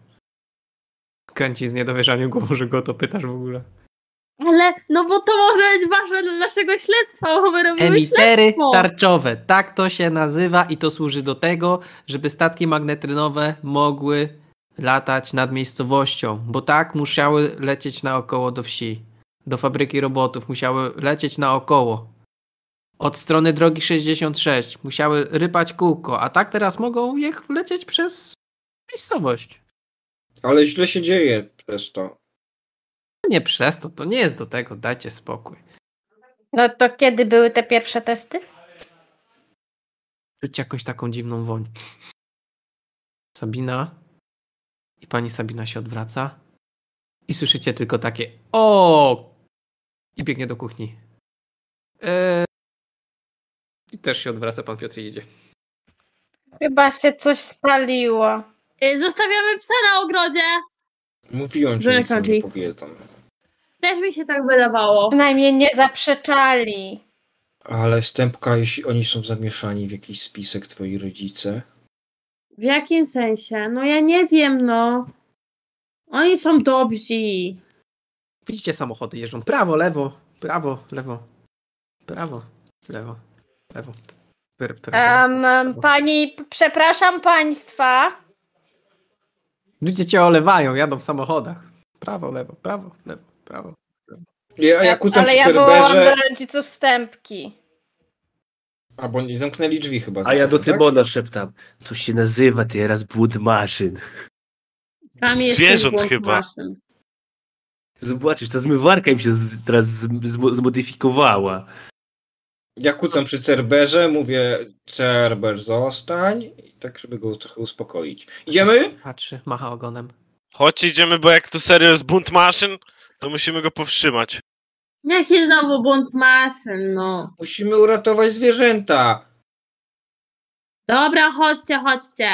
Kręci z niedowierzaniem głową, że go o to pytasz w ogóle. Ale, no bo to może być ważne dla naszego śledztwa, bo my robimy śledztwo. Emitery tarczowe, tak to się nazywa i to służy do tego, żeby statki magnetrynowe mogły latać nad miejscowością, bo tak musiały lecieć naokoło do wsi, do fabryki robotów, musiały lecieć naokoło. Od strony drogi 66 musiały rypać kółko, a tak teraz mogą jak lecieć przez miejscowość. Ale źle się dzieje przez to. Nie przez to, to nie jest do tego, dajcie spokój. No to kiedy były te pierwsze testy? Czuć jakąś taką dziwną woń. Sabina. I pani Sabina się odwraca. I słyszycie tylko takie o! I biegnie do kuchni. Eee... I też się odwraca, pan Piotr i idzie. Chyba się coś spaliło. Y, Zostawiamy psa na ogrodzie. Mówiłem, że nic im Wychodzi. nie powiedzą. Też mi się tak wydawało. Przynajmniej nie zaprzeczali. Ale Stępka, jeśli oni są zamieszani w jakiś spisek, twoi rodzice, W jakim sensie? No ja nie wiem, no. Oni są dobrzy. Widzicie samochody jeżdżą prawo, lewo, prawo, lewo, prawo, lewo, lewo. Pr, prawo. Em, em, pani, p- przepraszam państwa. Ludzie cię olewają, jadą w samochodach. Prawo, lewo, prawo, lewo, prawo. Ja, ja kucam ale przy ja wołam Cerberze, do rodziców wstępki. albo nie zamknęli drzwi chyba. za A ja sobą, tak? do Tymona szeptam. Co się nazywa teraz błąd maszyn? Tam jest Zwierząt ten błąd chyba. maszyn. Zobaczysz, ta zmywarka im się z, teraz zm- zmo- zmodyfikowała. Ja kucam przy Cerberze, mówię Cerber zostań, i tak żeby go trochę uspokoić. Idziemy? Patrzy, macha ogonem. Chodź, idziemy, bo jak tu serio jest bunt maszyn, to musimy go powstrzymać. Jaki znowu błąd maszyn, no. Musimy uratować zwierzęta. Dobra, chodźcie, chodźcie.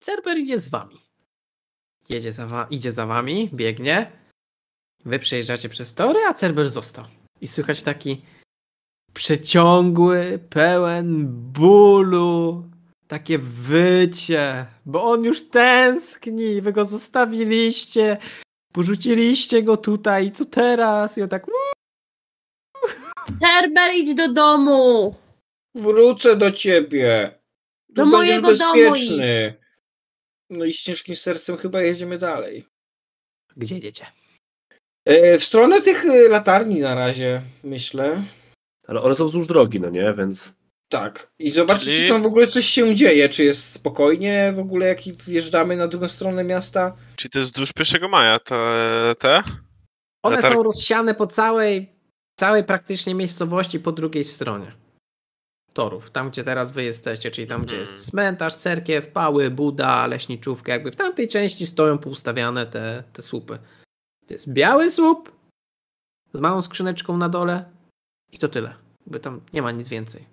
Cerber idzie z wami. Jedzie za wa- idzie za wami, biegnie. Wy przejeżdżacie przez tory, a Cerber został. I słychać taki przeciągły, pełen bólu, takie wycie, bo on już tęskni, wy go zostawiliście, porzuciliście go tutaj, i co teraz? I on tak, Cerber, idź do domu. Wrócę do ciebie. Tu Do będziesz mojego domu bezpieczny. No i z ciężkim sercem chyba jedziemy dalej. gdzie jedziecie? E, w stronę tych e, latarni na razie, myślę. Ale one są wzdłuż drogi, no nie? Więc Tak. I zobaczyć, Czyli- czy tam w ogóle coś się dzieje. Czy jest spokojnie w ogóle, jak wjeżdżamy na drugą stronę miasta. Czyli to jest wzdłuż 1 maja, te... te? One Latarki. są rozsiane po całej, całej praktycznie miejscowości po drugiej stronie torów, tam gdzie teraz wy jesteście, czyli tam gdzie Mhm. jest cmentarz, cerkiew, pały, buda, leśniczówka, jakby w tamtej części stoją poustawiane te, te słupy. To jest biały słup z małą skrzyneczką na dole i to tyle, by tam nie ma nic więcej.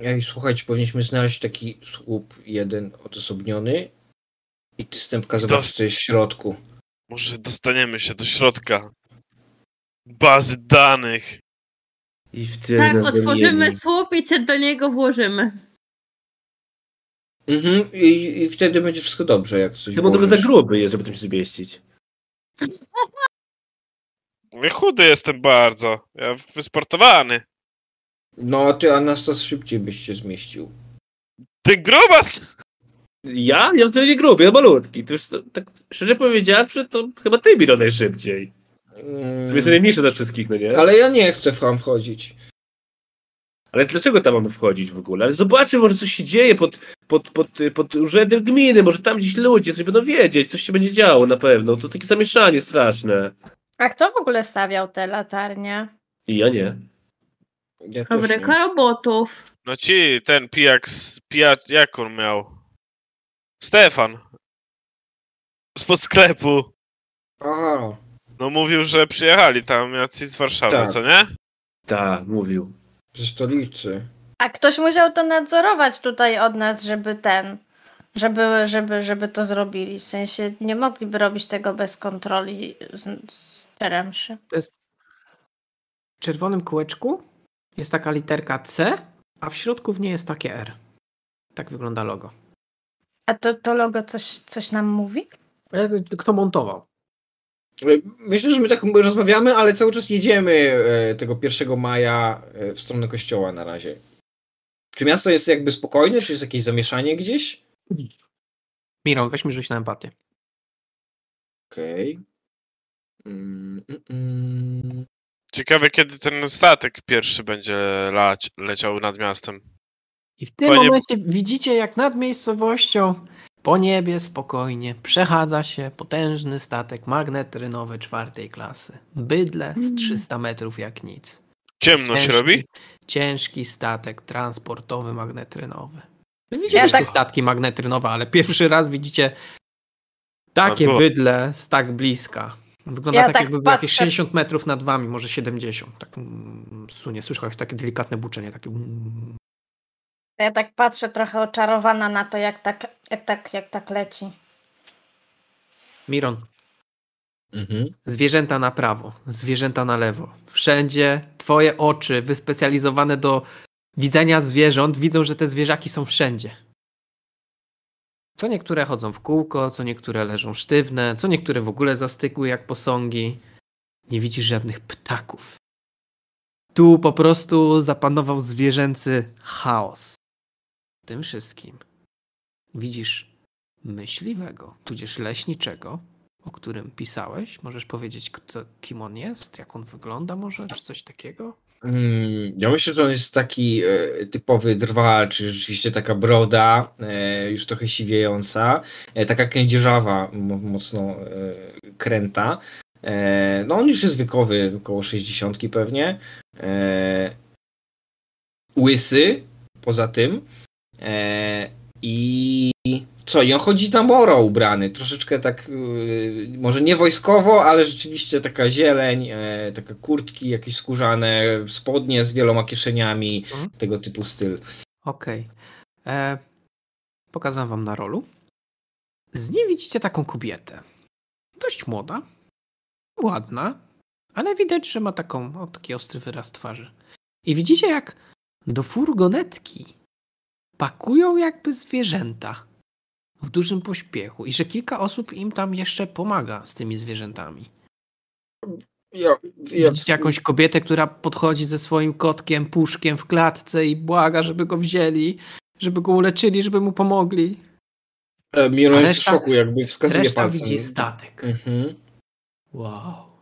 Ej, słuchajcie, powinniśmy znaleźć taki słup jeden odosobniony i ty stępka zobaczyć, co jest w środku. Może dostaniemy się do środka bazy danych. i wtedy Tak, nas otworzymy zamieni. słup i cię do niego włożymy. Mhm, i, i wtedy będzie wszystko dobrze, jak coś Tymon trochę za włożysz. gruby jest, żeby tam się zmieścić. Ja chudy jestem bardzo. Ja wysportowany. No, a ty, Anastas, szybciej byś się zmieścił. Ty grubas! Ja? Ja wtedy nie gruby, ja malutki. To już, to, tak szczerze powiedziawszy, to chyba ty mi do najszybciej. To jest Mm, najmniejszy ze wszystkich, no nie? ale ja nie chcę w ham wchodzić. Ale dlaczego tam mamy wchodzić w ogóle? Ale zobaczmy, może coś się dzieje pod, pod, pod, pod urzędem gminy, może tam gdzieś ludzie coś będą wiedzieć, coś się będzie działo na pewno. To takie zamieszanie straszne. A kto w ogóle stawiał te latarnie? I ja nie. Ja też nie. Fabryka robotów. No ci, ten pijak, z- pijak, jak on miał? Stefan. spod sklepu. Aha. No mówił, że przyjechali tam jacyś z Warszawy, Tak. co nie? Tak, mówił. Przecież to liczy. A ktoś musiał to nadzorować tutaj od nas, żeby ten, żeby, żeby, żeby to zrobili. W sensie nie mogliby robić tego bez kontroli z, z Teremszy. W czerwonym kółeczku jest taka literka C, a w środku w niej jest takie R. Tak wygląda logo. A to, to logo coś, coś nam mówi? E, Kto montował? E, Myślę, że my tak rozmawiamy, ale cały czas jedziemy e, tego 1 maja e, w stronę kościoła na razie. Czy miasto jest jakby spokojne? Czy jest jakieś zamieszanie gdzieś? Miron, weź mi rzuć na empatię. Okej. Mm, mm, mm. Ciekawe, kiedy ten statek pierwszy będzie lać, leciał nad miastem. I w tym Panie- momencie widzicie, jak nad miejscowością po niebie spokojnie przechadza się potężny statek magnetrynowy czwartej klasy. Bydle Mhm. z 300 metrów jak nic. Ciemno się robi? Ciężki statek transportowy magnetrynowy. Wy Ja Widzieliście tak- statki magnetrynowe, ale pierwszy raz widzicie takie było. bydle z tak bliska. Wygląda Ja tak, tak jakby było patrzę. jakieś 60 metrów nad wami, może 70. Tak mm, sunie, słyszałeś takie delikatne buczenie, takie mm. Ja tak patrzę trochę oczarowana na to, jak tak, jak tak, jak tak leci. Miron, Mhm. Zwierzęta na prawo, zwierzęta na lewo. Wszędzie twoje oczy wyspecjalizowane do widzenia zwierząt widzą, że te zwierzaki są wszędzie. Co niektóre chodzą w kółko, co niektóre leżą sztywne, co niektóre w ogóle zastygły jak posągi. Nie widzisz żadnych ptaków. Tu po prostu zapanował zwierzęcy chaos. W tym wszystkim widzisz myśliwego, tudzież leśniczego, o którym pisałeś? Możesz powiedzieć, kto, kim on jest? Jak on wygląda może? Czy coś takiego? Mm, Ja myślę, że on jest taki e, typowy drwal, czy rzeczywiście taka broda, e, już trochę siwiejąca, e, taka kędzierzawa, mo- mocno e, kręta. E, no on już jest wiekowy, około 60 pewnie. E, łysy, poza tym. E, I co, i on chodzi na moro ubrany, troszeczkę tak, yy, może nie wojskowo, ale rzeczywiście taka zieleń, e, takie kurtki jakieś skórzane, spodnie z wieloma kieszeniami, Mhm. tego typu styl. Okej. E, Pokazałem wam na rolu. Z niej widzicie taką kobietę. Dość młoda, ładna, ale widać, że ma taką, o, taki ostry wyraz twarzy. I widzicie, jak do furgonetki pakują jakby zwierzęta w dużym pośpiechu i że kilka osób im tam jeszcze pomaga z tymi zwierzętami. Ja, Widzicie jakąś kobietę, która podchodzi ze swoim kotkiem, puszkiem w klatce i błaga, żeby go wzięli, żeby go uleczyli, żeby mu pomogli. e, Miron jest w Reszta- szoku, jakby wskazuje Reszta palcem. widzi statek. Mhm. Wow.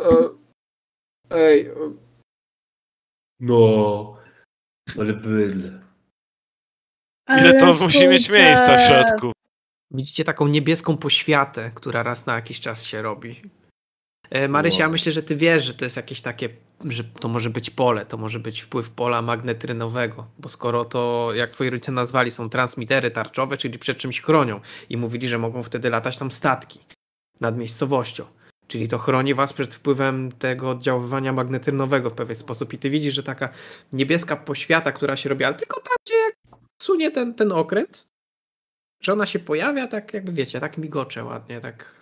E, Ej, e, No, ale bydle. Ile to musi mieć miejsca w środku? Widzicie taką niebieską poświatę, która raz na jakiś czas się robi. E, Marysia, Wow. myślę, że ty wiesz, że to jest jakieś takie, że to może być pole, to może być wpływ pola magnetrynowego, bo skoro to, jak twoi rodzice nazwali, są transmitery tarczowe, czyli przed czymś chronią i mówili, że mogą wtedy latać tam statki nad miejscowością. Czyli to chroni was przed wpływem tego oddziaływania magnetrynowego w pewien sposób. I ty widzisz, że taka niebieska poświata, która się robi, ale tylko tam, gdzie jak sunie ten, ten okręt, że ona się pojawia, tak jakby wiecie, tak migocze ładnie, tak.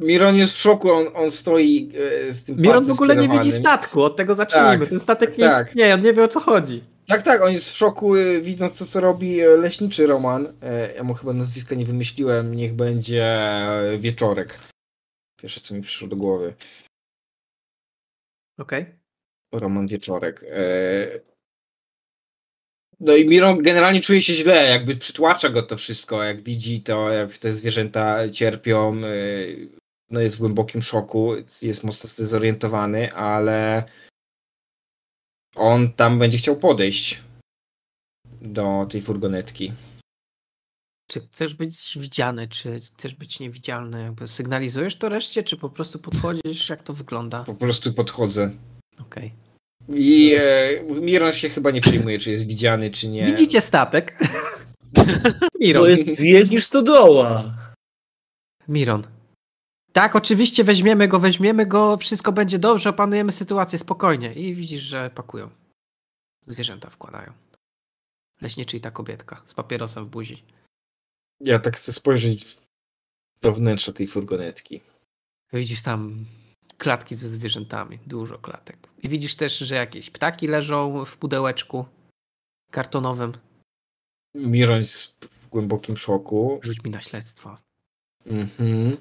Miron jest w szoku, on, on stoi e, z tym Miron w palcem ogóle nie widzi skierowanym. statku, od tego zacznijmy. Tak, Ten statek nie tak. istnieje, on nie wie o co chodzi. Tak, tak, on jest w szoku, y, widząc to, co robi e, leśniczy Roman. E, Ja mu chyba nazwiska nie wymyśliłem, niech będzie e, wieczorek. Pierwsze, co mi przyszło do głowy. Okej. Roman Wieczorek. E, No i Miron generalnie czuje się źle, jakby przytłacza go to wszystko, jak widzi to, jak te zwierzęta cierpią. e, No jest w głębokim szoku, jest mocno zdezorientowany, ale on tam będzie chciał podejść do tej furgonetki. Czy chcesz być widziany, czy chcesz być niewidzialny? Jakby sygnalizujesz to reszcie, czy po prostu podchodzisz, jak to wygląda? Po prostu podchodzę. Okej. I e, Miron się chyba nie przejmuje, czy jest widziany, czy nie. Widzicie statek. Miron. To jest więcej niż stodoła. Miron. Tak, oczywiście weźmiemy go, weźmiemy go, wszystko będzie dobrze, opanujemy sytuację spokojnie. I widzisz, że pakują. Zwierzęta wkładają. Leśniczy i ta kobietka z papierosem w buzi. Ja tak chcę spojrzeć w- do wnętrza tej furgonetki. Widzisz tam klatki ze zwierzętami, dużo klatek. I widzisz też, że jakieś ptaki leżą w pudełeczku kartonowym. Miron jest w głębokim szoku. Rzuć mi na śledztwo. Mhm.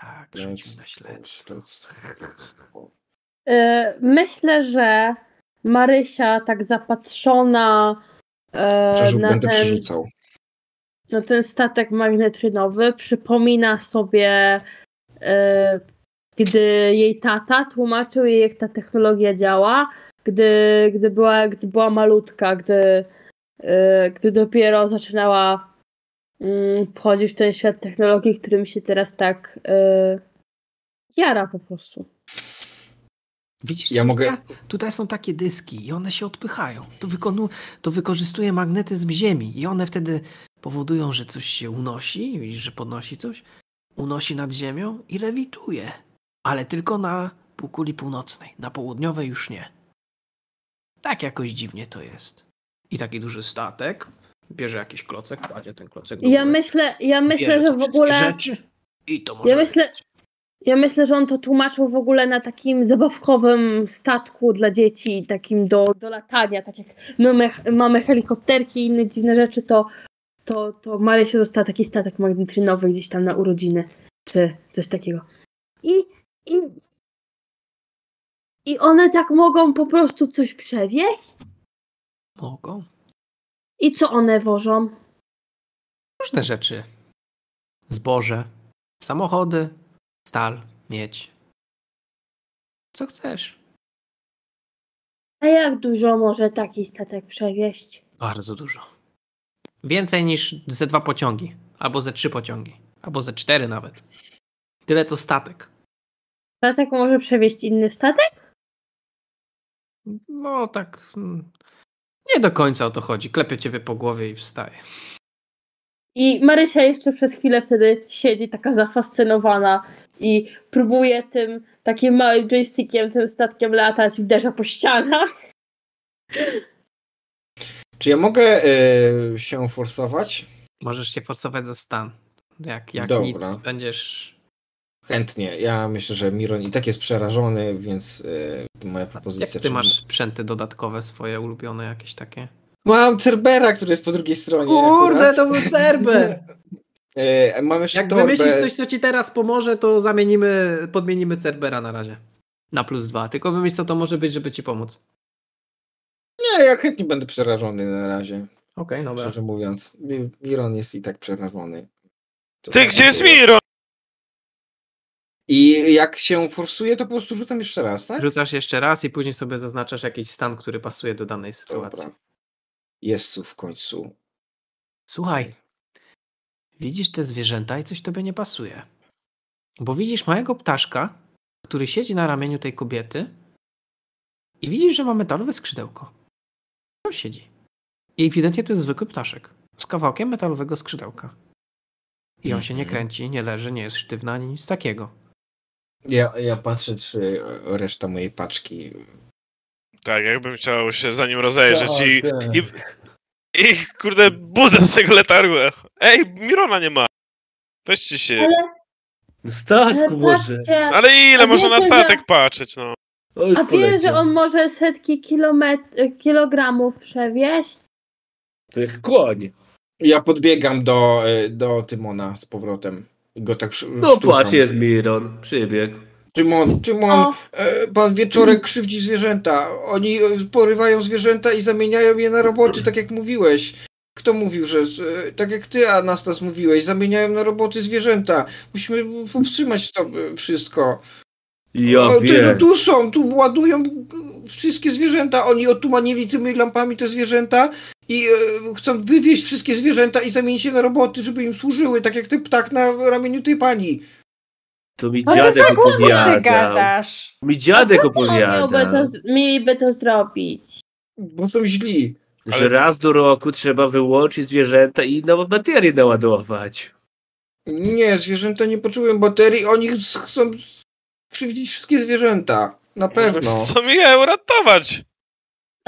Tak, rzuć mi na śledztwo. E, Myślę, że Marysia tak zapatrzona e, Przerzut na, będę ten, przerzucał. na ten statek magnetrynowy przypomina sobie, e, gdy jej tata tłumaczył jej, jak ta technologia działa, gdy, gdy, była, gdy była malutka, gdy, e, gdy dopiero zaczynała mm, wchodzić w ten świat technologii, którym się teraz tak e, jara po prostu. Widzisz, Ja tutaj- mogę- tutaj są takie dyski i one się odpychają. To, wykonu, to wykorzystuje magnetyzm Ziemi i one wtedy powodują, że coś się unosi, widzisz, że podnosi coś, unosi nad ziemią i lewituje. Ale tylko na półkuli północnej, na południowej już nie. Tak jakoś dziwnie to jest. I taki duży statek, bierze jakiś klocek, kładzie ten klocek do Ja góry, myślę, ja myślę, bierze że te w wszystkie ogóle. Rzeczy I to może Ja myślę, ja myślę, że on to tłumaczył w ogóle na takim zabawkowym statku dla dzieci, takim do, do latania. Tak jak my me- mamy helikopterki i inne dziwne rzeczy, to, to, to Marysia dostała taki statek magnetrynowy gdzieś tam na urodziny, czy coś takiego. I, i, I one tak mogą po prostu coś przewieźć? mogą. I co one wożą? różne rzeczy. Zboże, samochody, stal, miedź. Co chcesz? A jak dużo może taki statek przewieźć? Bardzo dużo. Więcej niż ze dwa pociągi, albo ze trzy pociągi, albo ze cztery nawet. Tyle co statek. Statek może przewieźć inny statek? No tak. mm, Nie do końca o to chodzi. Klepię ciebie po głowie i wstaję. I Marysia jeszcze przez chwilę wtedy siedzi taka zafascynowana i próbuje tym takim małym joystickiem, tym statkiem latać i uderza po ścianach. Czy ja mogę e, się forsować? Możesz się forsować za stan. Jak, jak Dobra. nic będziesz. Chętnie. Ja myślę, że Miron i tak jest przerażony, więc e, moja propozycja... Jak ty że- masz sprzęty dodatkowe swoje ulubione jakieś takie? Mam Cerbera, który jest po drugiej stronie. Kurde, No akurat. to był Cerber! E, mam jeszcze Jak torbę. wymyślisz coś, co ci teraz pomoże, to zamienimy, podmienimy Cerbera na razie. Na plus dwa. Tylko wymyśl, co to może być, żeby ci pomóc. Nie, ja chętnie będę przerażony na razie. Okej, dobra. Szczerze mówiąc. Mi- Miron jest i tak przerażony. To Ty, tak gdzie jest było. Miro? I jak się forsuje, to po prostu rzucam jeszcze raz, tak? Rzucasz jeszcze raz i później sobie zaznaczasz jakiś stan, który pasuje do danej sytuacji. Dobra. Jest tu w końcu. Słuchaj, widzisz te zwierzęta i coś tobie nie pasuje. Bo widzisz małego ptaszka, który siedzi na ramieniu tej kobiety i widzisz, że ma metalowe skrzydełko. On siedzi. I ewidentnie to jest zwykły ptaszek z kawałkiem metalowego skrzydełka. I on się nie Mhm. kręci, nie leży, nie jest sztywna, ani nic takiego. Ja, ja patrzę, czy reszta mojej paczki. Tak, jakbym chciał się za nim rozejrzeć i, Tak. i, i kurde buzę z tego letargu. Ej, Mirona nie ma. Weźcie się. Na statku Ale może. patrzcie, Ale ile A można na wiecie, że- statek patrzeć, no. O, już a wiesz, że poleciał. on może setki kilometr- kilogramów przewieźć? To jak koń. Ja podbiegam do, e, do Tymona z powrotem. I Go tak sz- No szturcham. płacz, jest Miron. Przybiegł. Tymon, Mm, Tymon, O, e, pan wieczorek krzywdzi zwierzęta. Oni e, porywają zwierzęta i zamieniają je na roboty, tak jak mówiłeś. Kto mówił, że z- e, tak jak ty, Anastas, mówiłeś, zamieniają na roboty zwierzęta. Musimy powstrzymać to e, wszystko. Ja O, ty, no wiem. tu są, tu ładują g- wszystkie zwierzęta. Oni otumanili tymi lampami te zwierzęta i e, chcą wywieźć wszystkie zwierzęta i zamienić je na roboty, żeby im służyły, tak jak ten ptak na ramieniu tej pani. To mi No to dziadek za głupio ty opowiadał. gadasz. Mi dziadek co on miałby opowiadał. to, z- mieliby to zrobić? Bo są źli. Że Ale- raz do roku trzeba wyłączyć zwierzęta i nową baterię naładować. Nie, zwierzęta nie poczują baterii, oni ch- chcą krzywdzić wszystkie zwierzęta. Na Wiesz, pewno. Co mi je uratować?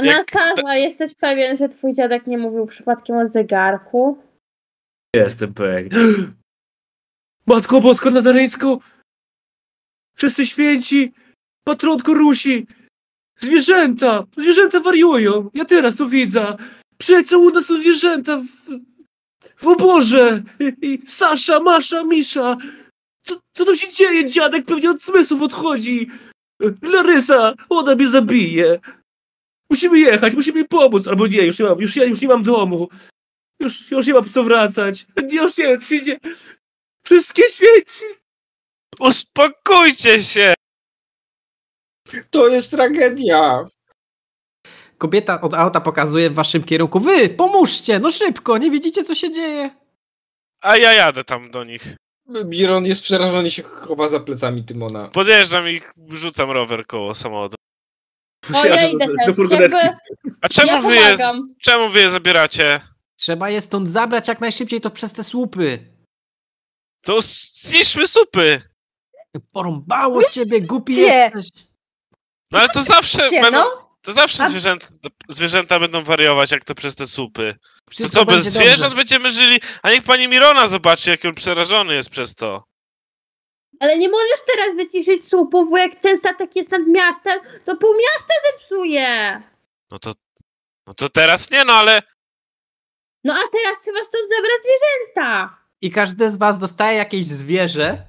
Jak- Nasasa, jesteś pewien, że twój dziadek nie mówił przypadkiem o zegarku? Jestem pewien. Matko Bosko Nazareńsko! Wszyscy święci! Patronko Rusi! Zwierzęta! Zwierzęta wariują! Ja teraz to widzę! Przecież u nas są zwierzęta w, w oborze! I, I Sasza, Masza, Misza! Co, co tam się dzieje? Dziadek pewnie od zmysłów odchodzi! Larysa! Ona mnie zabije! Musimy jechać, musimy jej pomóc! Albo nie, już nie mam, już, ja już nie mam domu! Już, już nie mam co wracać. Już nie, przyjdzie. Wszystkie świeci. Uspokójcie się! To jest tragedia. Kobieta od auta pokazuje w waszym kierunku. Wy, pomóżcie, no szybko, nie widzicie co się dzieje. A ja jadę tam do nich. Biron jest przerażony, się chowa za plecami Tymona. Podjeżdżam i rzucam rower koło samochodu. O, ja idę do- też. do furgonetki. Jakby- A czemu Ja wy je, pomagam. czemu wy je zabieracie? Trzeba je stąd zabrać jak najszybciej, to przez te słupy. To s- zniszczmy supy! Porąbało z ciebie, głupi Gdzie? jesteś. No ale to zawsze Gdzie, będą, no? to zawsze A- zwierzęta, zwierzęta będą wariować jak to przez te supy. To Wszystko co, bez będzie dobrze. zwierząt będziemy żyli? A niech pani Mirona zobaczy, jak on przerażony jest przez to. Ale nie możesz teraz wyciszyć słupów, bo jak ten statek jest nad miastem, to pół miasta zepsuje. No to, no to teraz nie, no ale No a teraz trzeba stąd zabrać zwierzęta. I każdy z was dostaje jakieś zwierzę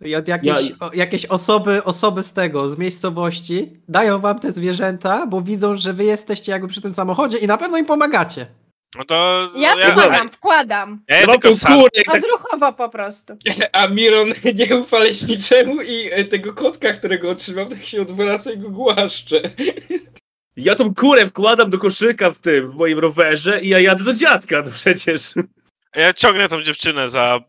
i od jakiejś, o, jakieś osoby, osoby z tego, z miejscowości dają wam te zwierzęta, bo widzą, że wy jesteście jakby przy tym samochodzie i na pewno im pomagacie. no to Ja ja, pomagam, wkładam. ja je tylko sam. kurek, tak Odruchowo po prostu. A Miron nie ufa leśniczemu i e, tego kotka, którego otrzymał, tak się odwraca i go głaszcze. Ja tą kurę wkładam do koszyka w tym, w moim rowerze i ja jadę do dziadka, no przecież. Ja ciągnę tą dziewczynę za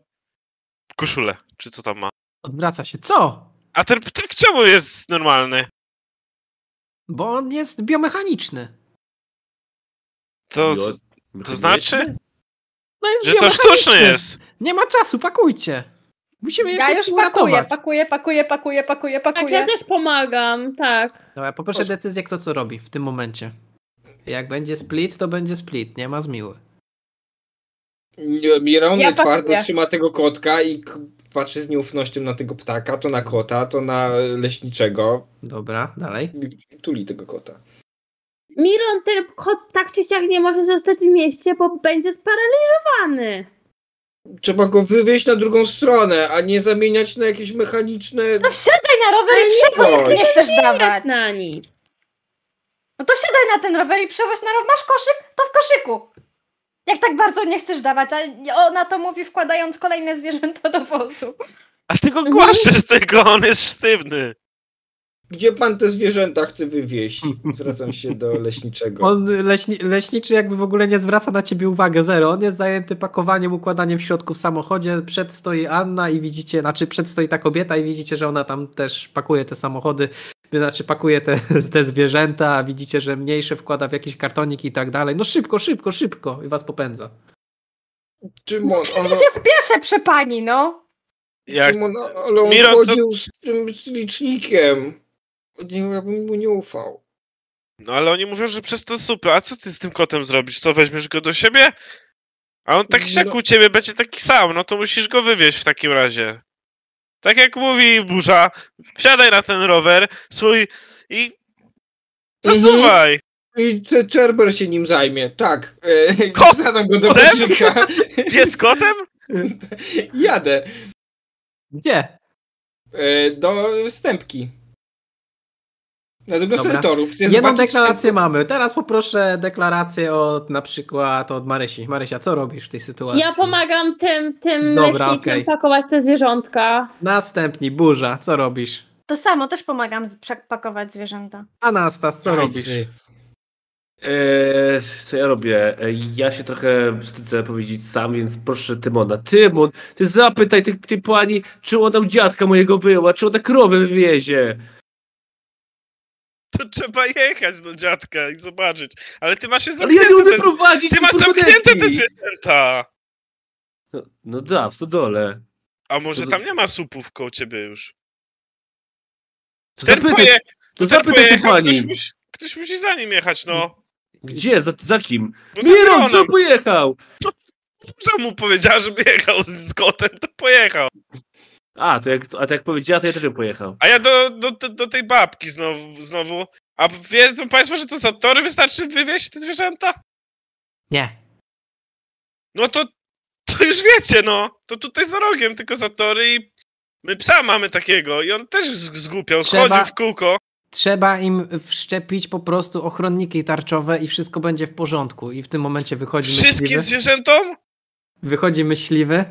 koszulę, czy co tam ma. Odwraca się. Co? A ten ptak czemu jest normalny? Bo on jest biomechaniczny. To, Jo, z- to znaczy, No jest że to sztuczny jest. Nie ma czasu, pakujcie. Musimy je Ja już wszystkim pakuję, uratować. pakuję, pakuję, pakuję, pakuję, Tak, ja pakuję. też pomagam, tak. Dobra, poproszę decyzję, kto co robi w tym momencie. Jak będzie split, to będzie split, nie ma zmiły. Nie, Miron e, Ja twardo pakuję. trzyma tego kotka i k- patrzy z nieufnością na tego ptaka, to na kota, to na e, leśniczego. Dobra, dalej. I Tuli tego kota. Miron, ten kot tak czy siak nie może zostać w mieście, bo będzie sparaliżowany. Trzeba go wywieźć na drugą stronę, a nie zamieniać na jakieś mechaniczne... No wsiadaj na rower Ale i nie przewoź, jak bądź. nie chcesz Teraz dawać. na nic. No to wsiadaj na ten rower i przewoź na rower. Masz koszyk? To w koszyku. Jak tak bardzo nie chcesz dawać, a ona to mówi wkładając kolejne zwierzęta do wozu. A ty No go głaszczesz tylko, on jest sztywny. Gdzie pan te zwierzęta chce wywieźć? Zwracam się do leśniczego. On leśni, leśniczy jakby w ogóle nie zwraca na ciebie uwagę, zero. On jest zajęty pakowaniem, układaniem środków w samochodzie. Przed stoi Anna i widzicie, znaczy przed stoi ta kobieta i widzicie, że ona tam też pakuje te samochody, znaczy pakuje te, te zwierzęta, a widzicie, że mniejsze wkłada w jakiś kartonik i tak dalej. No szybko, szybko, szybko i was popędza. Czym on, Przecież się spieszę przy pani, no. Jak, czym on, ale on Miron, to- chodził z tym z licznikiem. Nie, ja bym mu nie ufał. no ale oni mówią, że przez to supy. A co ty z tym kotem zrobisz? To weźmiesz go do siebie? A on taki jak No. u ciebie będzie taki sam, no to musisz go wywieźć w takim razie. Tak jak mówi burza, wsiadaj na ten rower swój i Mhm. zasuwaj. I te- Cerber się nim zajmie, tak. E, Kot! Zadam go do Kotem? koszyka. Pies kotem? Jadę Gdzie? e, do stępki. Na drugą Dobra. stronę torów. Chcę Jedną zobaczyć- deklarację mamy. Teraz poproszę deklarację od na przykład od Marysi. Marysia, co robisz w tej sytuacji? Ja pomagam tym, tym Dobra, leśniczym okej. pakować te zwierzątka. Następni, burza, co robisz? To samo, też pomagam z- przepakować zwierzęta. Anastas, co robisz? Hajsy. Eee, co ja robię? Eee, ja się trochę wstydzę powiedzieć sam, więc proszę Tymona. Tymon, ty zapytaj tej, tej pani, czy ona u dziadka mojego była, czy ona krowę wywiezie. to trzeba jechać do dziadka i zobaczyć. Ale ty masz je Ale ja nie zamknięte. umiem te... prowadzić! Ty masz kurde, zamknięte te deski. zwierzęta! No, no da, w stodole. A może No To- tam nie ma supów koło ciebie już? To Ten zapytaj, poje, to ten zapytaj tej pojechał, ktoś pani. musi, ktoś musi za nim jechać, no. Gdzie? Za, za kim? Bo Miron, Miron, no, co pojechał? co mu powiedziała, żeby jechał z, z kotem, to pojechał. A, to jak, a to jak powiedziała, to ja też bym pojechał. A ja do, do, do, do tej babki znowu, znowu. A wiedzą państwo, że to za tory wystarczy wywieźć te zwierzęta? Nie. No to, to już wiecie, no. To tutaj za rogiem, tylko za tory i my psa mamy takiego i on też z- zgłupiał, Trzeba- schodził w kółko. Trzeba im wszczepić po prostu ochronniki tarczowe i wszystko będzie w porządku. I w tym momencie wychodzi Wszystkim myśliwy. zwierzętom? Wychodzi myśliwy.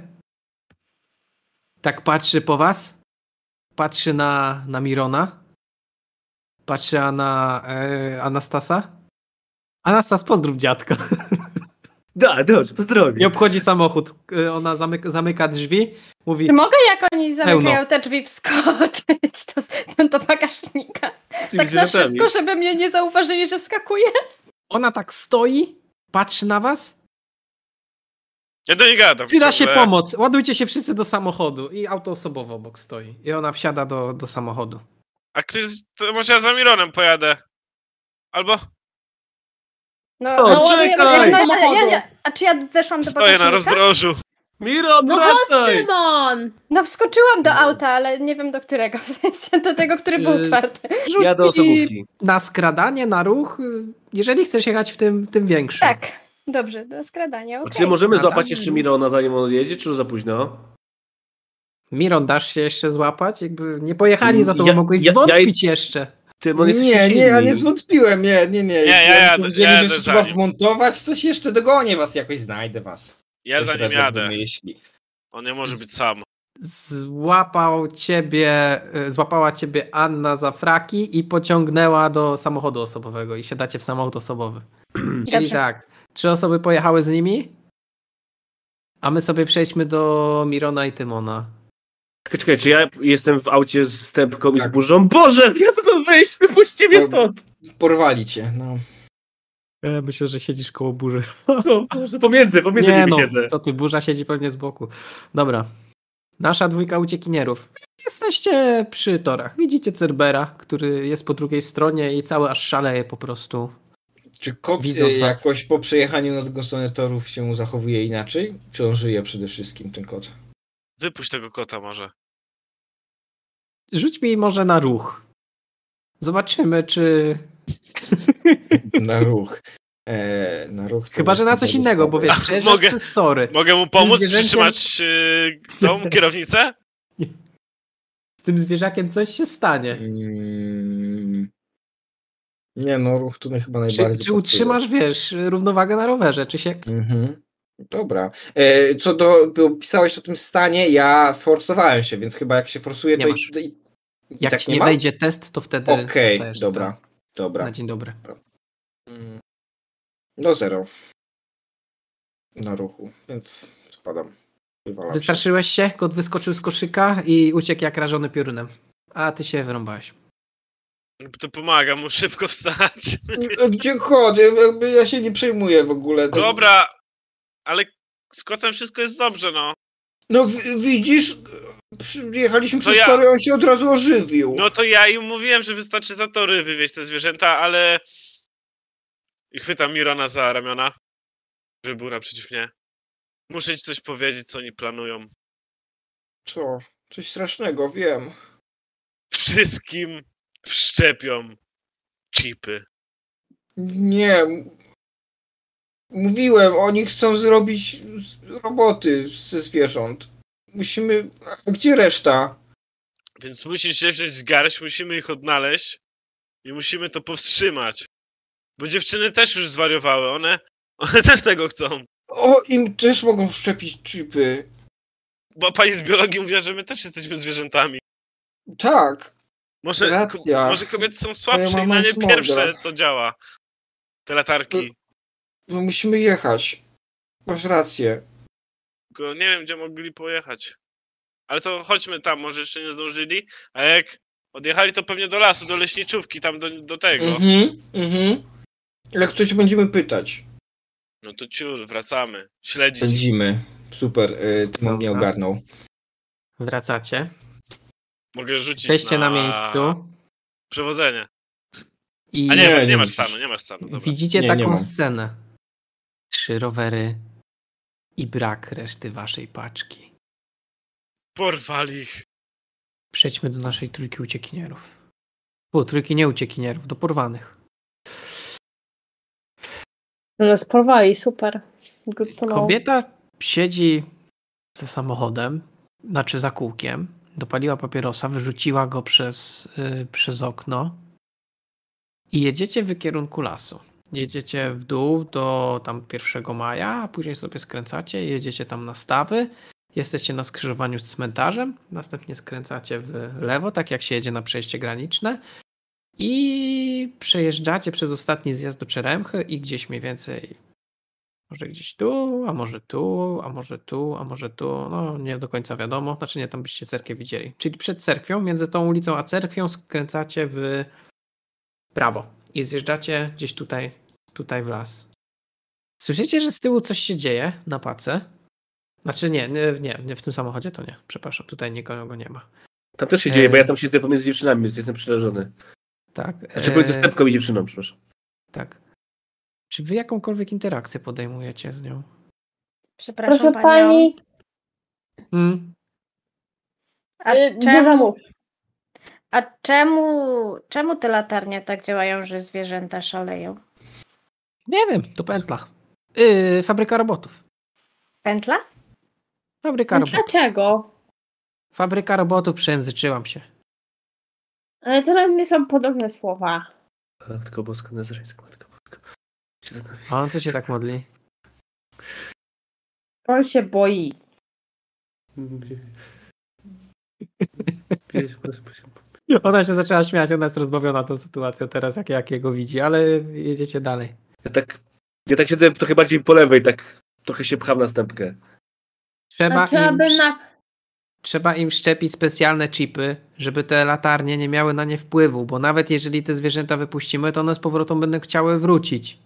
Tak patrzy po was. Patrzy na, na Mirona. Patrzy na e, Anastasa. Anastas, pozdrów dziadka. Da, dobrze, I pozdrowię. obchodzi samochód. E, Ona zamyka, zamyka drzwi. Mówi, Czy mogę, jak oni zamykają Pełno. te drzwi, wskoczyć do, do bagażnika? Tak na szybko, żeby mnie nie zauważyli, że wskakuję? ona tak stoi, patrzy na was. Ja do niej gadam. Przyda się ciągle. pomoc. Ładujcie się wszyscy do samochodu. I auto osobowe obok stoi. I ona wsiada do, do samochodu. A ktoś, to może ja za Mironem pojadę. Albo No, O, ładujemy czekaj! się- no, ja, ja, a czy ja weszłam do stoję na bagażnika? rozdrożu. Miron, No chodź, wracaj! Szymon! No wskoczyłam do auta, ale nie wiem do którego, w sensie do tego, który był Yy, otwarty. Ja do I osobówki. Na skradanie, na ruch. y, Jeżeli chcesz jechać w tym, tym większym. Tak, dobrze, do skradania, A okej. Czy możemy A tam- złapać jeszcze Mirona, zanim on odjedzie, czy już za późno? Miron, dasz się jeszcze złapać? Jakby nie pojechali za tobą, Mm, Ja- mogłeś ja- ja- zwątpić jeszcze. Ty, on jest Nie, nie, ja nie zwątpiłem, nie, nie, nie. ja Jakby jadę, powiedzieli, jadę że za trzeba nim. wmontować, coś jeszcze dogonię was, jakoś znajdę was. tak Ja za nim jadę. Jeśli. On nie może być sam. Złapał ciebie, y, złapała ciebie Anna za fraki i pociągnęła do samochodu osobowego i siadacie w samochód osobowy. Czyli Dobrze. tak, trzy osoby pojechały z nimi, a my sobie przejdźmy do Mirona i Tymona. Czekaj, czekaj, czy ja jestem w aucie z stępką i z Tak. burzą? Boże, ja stąd wyjść, wypuśćcie mnie Dobra. stąd! Porwali cię, no. E, Myślę, że siedzisz koło burzy. No, Boże, pomiędzy, pomiędzy Nie nimi no, siedzę. co ty, burza siedzi pewnie z boku. Dobra, nasza dwójka uciekinierów. Jesteście przy torach. Widzicie Cerbera, który jest po drugiej stronie i cały aż szaleje po prostu. Czy kot Widząc y, was. jakoś po przejechaniu na drugą stronę torów się zachowuje inaczej? Czy on żyje przede wszystkim, ten kot? Wypuść tego kota może. Rzuć mi może na ruch. Zobaczymy, czy. Na ruch. E, na ruch to Chyba, że jest na coś bardzo innego, bo słaby. wiesz, przejeżdżasz mogę. przez tory. Mogę mu pomóc zwierzęciem- przytrzymać yy, tą kierownicę? Z tym zwierzakiem coś się stanie. Mm. Nie no, ruch tutaj chyba najbardziej Czy, czy pasuje. utrzymasz, wiesz, równowagę na rowerze? Czy się. Mhm. Dobra. E, co do, bo pisałeś o tym stanie, ja forsowałem się, więc chyba jak się forsuje, Nie to masz. i, i, i Jak tak ci nie nie ma? wejdzie test, to wtedy. Okej, dostajesz dobra, stan. dobra. Na dzień dobry. Mm. Do zero. Na ruchu, więc spadam. Wywalam się. Wystraszyłeś się, kot wyskoczył z koszyka i uciekł jak rażony piorunem. A ty się wyrąbałeś. To pomaga mu szybko wstać. E, Gdzie chodź? Ja- jakby Ja się nie przejmuję w ogóle. To- Dobra, ale z kotem wszystko jest dobrze, no. No w- widzisz, przyjechaliśmy To przez ja- tory, on się od razu ożywił. No to ja im mówiłem, że wystarczy za tory wywieźć te zwierzęta, ale... I chwytam Mirona za ramiona, żeby był naprzeciw mnie. Muszę ci coś powiedzieć, co oni planują. Co? Coś strasznego, wiem. Wszystkim wszczepią chipy. Nie. m- Mówiłem, oni chcą zrobić z- roboty ze zwierząt. Musimy. A gdzie reszta? Więc musisz się wziąć w garść, musimy ich odnaleźć i musimy to powstrzymać. Bo dziewczyny też już zwariowały, one, one też tego chcą. O, im też mogą wszczepić chipy. Bo pani z biologii mówiła, że my też jesteśmy zwierzętami. Tak. Może, ko- Racja. może kobiety są słabsze i mama na nie jest pierwsze mądra. to działa. Te latarki. No musimy jechać. Masz rację. Tylko nie wiem, gdzie mogli pojechać. Ale to chodźmy tam, może jeszcze nie zdążyli, a jak Odjechali to pewnie do lasu, do leśniczówki, tam do, do tego. Mhm, mhm. Jak coś będziemy pytać. No to ciul, wracamy. Śledzić. ich. Sędzimy. Super, y, Tymon mnie Dobra. ogarnął. Wracacie. Mogę rzucić Jesteście na na miejscu. Przewodzenie. I A nie, Nie, masz, nie nie masz musisz. stanu, nie masz stanu. Dobra. Widzicie Nie, nie taką mam. scenę. Trzy rowery i brak reszty waszej paczki. Porwali ich. Przejdźmy do naszej trójki uciekinierów. Bo trójki nie uciekinierów, do porwanych. No nas porwali, super. Good No. to know. Kobieta siedzi za samochodem, znaczy za kółkiem, dopaliła papierosa, wyrzuciła go przez, y, przez okno i jedziecie w kierunku lasu. Jedziecie w dół do tam 1 maja, a później sobie skręcacie, jedziecie tam na stawy, jesteście na skrzyżowaniu z cmentarzem, następnie skręcacie w lewo, tak jak się jedzie na przejście graniczne i przejeżdżacie przez ostatni zjazd do Czeremchy i gdzieś mniej więcej może gdzieś tu, a może tu, a może tu, a może tu. No nie do końca wiadomo. Znaczy nie, tam byście cerkiew widzieli. Czyli przed cerkwią, między tą ulicą a cerkwią skręcacie w prawo i zjeżdżacie gdzieś tutaj, tutaj w las. Słyszycie, że z tyłu coś się dzieje na pace? Znaczy nie, nie, nie, nie w tym samochodzie to nie. Przepraszam, tutaj nikogo nie ma. Tam też się Ej. dzieje, bo ja tam siedzę pomiędzy dziewczynami, więc jestem przerażony. Tak. Znaczy Eee. pomiędzy e, stepką i dziewczyną, przepraszam. Tak. Czy wy jakąkolwiek interakcję podejmujecie z nią? Przepraszam Proszę panią. pani, Hmm? A y, dużo czemu, mów. a czemu, czemu te latarnie tak działają, że zwierzęta szaleją? Nie wiem, to pętla. Yy, fabryka robotów. Pętla? Fabryka No robotów. Dlaczego? Fabryka robotów, przejęzyczyłam się. Ale to nawet nie są podobne słowa. Matko Boska Nazareńska, Matko Boska. Się zastanawiam. A on co się tak modli? On się boi. Ona się zaczęła śmiać, ona jest rozbawiona tą sytuacją teraz, jak, jak jego widzi, ale jedziecie dalej. Ja tak, ja tak siedzę trochę bardziej po lewej, tak trochę się pcham na stepkę. Trzeba, A No, trzeba im, by na... trzeba im szczepić specjalne chipy, żeby te latarnie nie miały na nie wpływu, bo nawet jeżeli te zwierzęta wypuścimy, to one z powrotem będą chciały wrócić.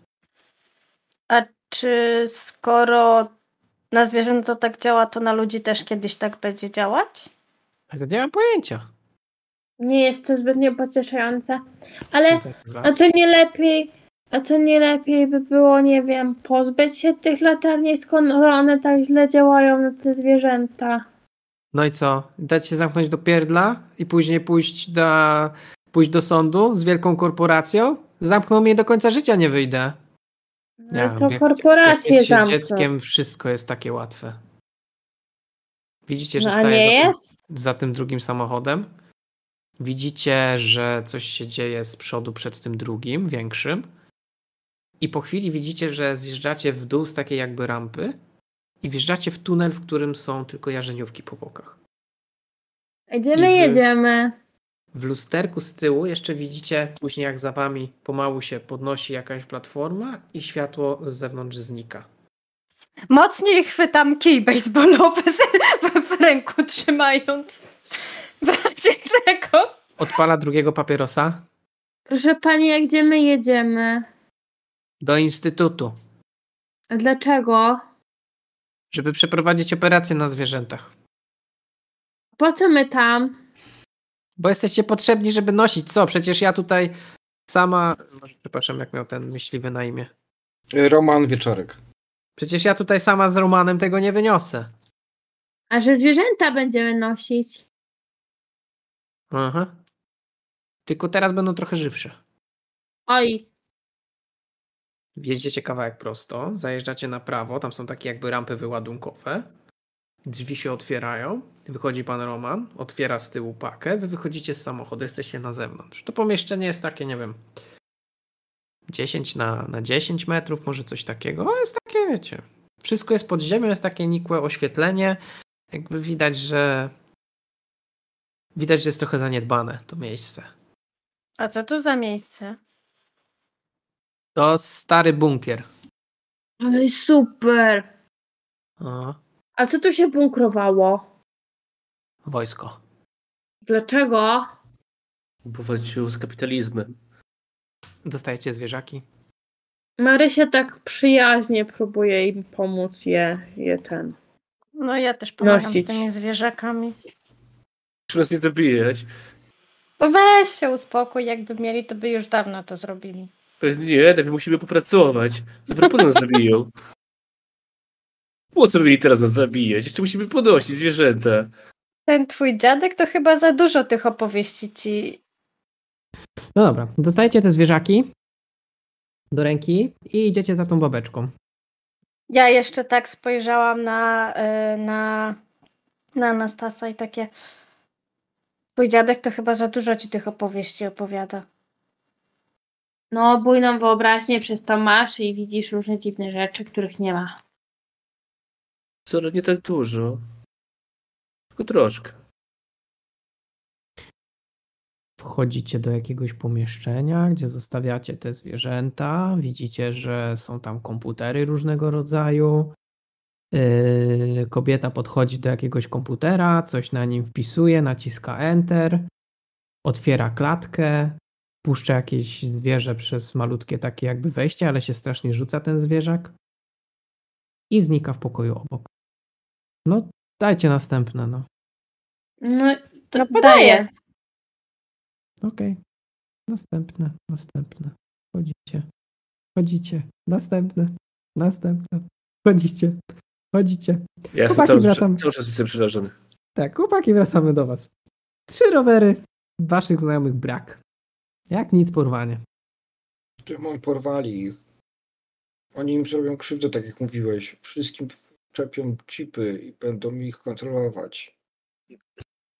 A czy skoro na zwierzęta tak działa, to na ludzi też kiedyś tak będzie działać? Ale to nie mam pojęcia. Nie jest to zbytnio pocieszające. Ale a Raz. to nie lepiej... A to nie lepiej by było, nie wiem, pozbyć się tych latarni, skoro one tak źle działają na te zwierzęta. No i co? Dać się zamknąć do pierdla i później pójść do, pójść do sądu z wielką korporacją? Zamkną mnie do końca życia, nie wyjdę. No Ja i wiem, to jak- Jak korporacje jest się zamkną. dzieckiem, wszystko jest takie łatwe. Widzicie, że No a staje nie za, jest? Tym, za tym drugim samochodem. Widzicie, że coś się dzieje z przodu przed tym drugim, większym. I po chwili widzicie, że zjeżdżacie w dół z takiej jakby rampy i wjeżdżacie w tunel, w którym są tylko jarzeniówki po bokach. A Gdzie my I wy- jedziemy? W lusterku z tyłu jeszcze widzicie, później jak za wami pomału się podnosi jakaś platforma i światło z zewnątrz znika. Mocniej chwytam kij baseballowy z- w ręku trzymając. W razie czego? Odpala drugiego papierosa Proszę pani, a gdzie my jedziemy? do instytutu. A dlaczego? żeby przeprowadzić operację na zwierzętach. Po co my tam? Bo jesteście potrzebni, żeby nosić co? Przecież ja tutaj sama. Przepraszam, jak miał ten myśliwy na imię. Y, Roman Wieczorek. Przecież ja tutaj sama z Romanem tego nie wyniosę. A że zwierzęta będziemy nosić? Aha. Tylko teraz będą trochę żywsze. Oj, Jedziecie kawałek prosto, zajeżdżacie na prawo, tam są takie jakby rampy wyładunkowe. Drzwi się otwierają, wychodzi pan Roman, otwiera z tyłu pakę, wy wychodzicie z samochodu, jesteście na zewnątrz. To pomieszczenie jest takie, nie wiem, 10 na, na 10 metrów, może coś takiego. O, jest takie, wiecie, wszystko jest pod ziemią, jest takie nikłe oświetlenie. Jakby widać, że widać, że jest trochę zaniedbane to miejsce. A co tu za miejsce? To stary bunkier. ale super. O, A co tu się bunkrowało? wojsko. Dlaczego? Powalczył z kapitalizmem. Dostajecie zwierzaki. Marysia tak przyjaźnie próbuje im pomóc je, je ten. No ja też pomagam Nosić. z tymi zwierzakami. Czy nas nie zabijać? Bo weź się uspokój, jakby mieli, to by już dawno to zrobili. Pewnie nie, najpierw musimy popracować. Dopiero potem nas zabiją. Po co mieli teraz nas zabijać? Jeszcze musimy podnosić zwierzęta. Ten twój dziadek to chyba za dużo tych opowieści ci. No dobra, dostajecie te zwierzaki do ręki i idziecie za tą babeczką. Ja jeszcze tak spojrzałam na, y, na, na Anastasa i takie. Twój dziadek to chyba za dużo ci tych opowieści opowiada. No, bujną wyobraźnię przez to masz i widzisz różne dziwne rzeczy, których nie ma. Wcale nie tak dużo. Tylko troszkę. Wchodzicie do jakiegoś pomieszczenia, gdzie zostawiacie te zwierzęta. Widzicie, że są tam komputery różnego rodzaju. Yy, kobieta podchodzi do jakiegoś komputera, coś na nim wpisuje, naciska Enter, otwiera klatkę, puszcza jakieś zwierzę przez malutkie takie jakby wejście, ale się strasznie rzuca ten zwierzak i znika w pokoju obok. No, dajcie następne, no. No, to No, daję. podaję. Okej. Następne, następne. Chodzicie. Chodzicie. Następne. Następne. Chodzicie. Chodzicie. Ja jestem Chłopaki, cały, wracam. cały czas jestem przerażony. Tak, chłopaki, wracamy do was. Trzy rowery. Waszych znajomych brak. Jak nic porwanie. Czemu oni porwali ich? Oni im zrobią krzywdę, tak jak mówiłeś. Wszystkim czepią chipy i będą ich kontrolować.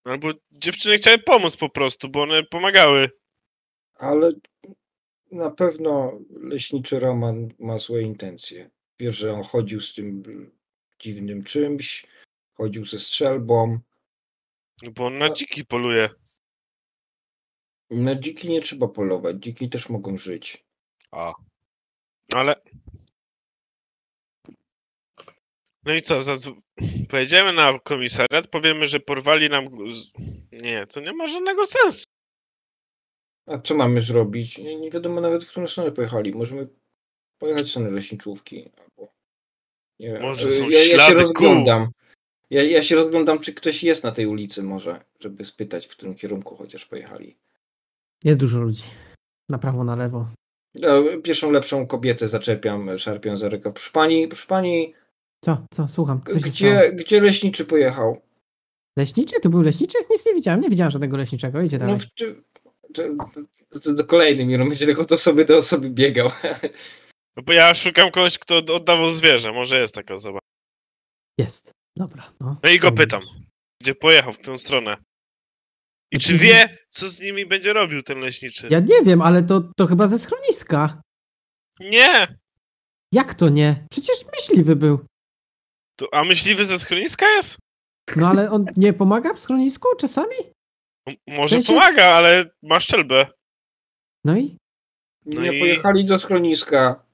Albo dziewczyny chciały pomóc po prostu, bo one pomagały. Ale na pewno leśniczy Roman ma złe intencje. Wiesz, że on chodził z tym dziwnym czymś, chodził ze strzelbą. Bo on na dziki poluje. Na No, dziki nie trzeba polować, dziki też mogą żyć. A. Ale. No i co? Zadzw... Pojedziemy na komisariat, powiemy, że porwali nam. g- z- Nie, to nie ma żadnego sensu. A co mamy zrobić? Nie, nie wiadomo nawet, w którą stronę pojechali. Możemy pojechać w stronę leśniczówki. Albo... Nie, Może e, są ja, ja się ślady kół. rozglądam. Ja, ja się rozglądam, czy ktoś jest na tej ulicy może, żeby spytać, w którym kierunku chociaż pojechali. Jest dużo ludzi. Na prawo, na lewo. E, Pierwszą lepszą kobietę zaczepiam, e, szarpią za rękaw. Proszę pani, proszę pani, Co? Co? Słucham. Co się stało? gdzie, gdzie leśniczy pojechał? Leśniczy? To był leśniczy? Nic nie widziałem. Nie widziałem żadnego leśniczego. Idzie dalej. No, w, czy, czy, to do kolejny Miron będzie tylko od osoby do osoby biegał. No bo ja szukam kogoś, kto od- oddawał zwierzę. Może jest taka osoba. Jest. Dobra. No, No i go Dobra. pytam. Gdzie pojechał w tę stronę? I czy wie, co z nimi będzie robił ten leśniczy? Ja nie wiem, ale to, to chyba ze schroniska. Nie! Jak to nie? Przecież myśliwy był. To, a myśliwy ze schroniska jest? No ale on nie pomaga w schronisku czasami? M- No, może sensie- pomaga, ale ma szczelbę. No i? No nie i- pojechali do schroniska.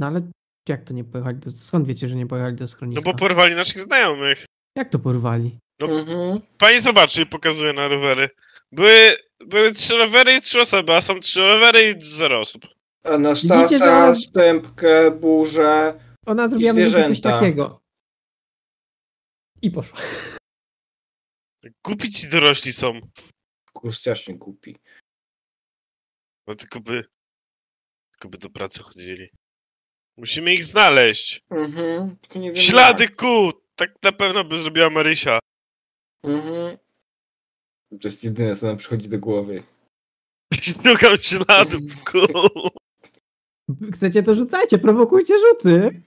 No ale jak to nie pojechali do... Skąd wiecie, że nie pojechali do No schroniska? bo porwali naszych znajomych. Jak to porwali? No. Mhm. Pani zobaczy i pokazuje na rowery. Były, były trzy rowery i trzy osoby, a są trzy rowery i zero osób. Widzicie, że Anastasa, ona- stępkę, burzę. Ona zrobiła mniej więcej coś zwierzęta. takiego. I poszła. Głupi ci dorośli są. Kurz, strasznie głupi. No tylko by... Tylko by do pracy chodzili. Musimy ich znaleźć. Mhm. tylko nie wiem Ślady jak. kół! Tak na pewno by zrobiła Marysia. Mhm. To jest jedyne, co nam przychodzi do głowy. Szukam śladów Mm. kół. Chcecie to rzucajcie, prowokujcie rzuty.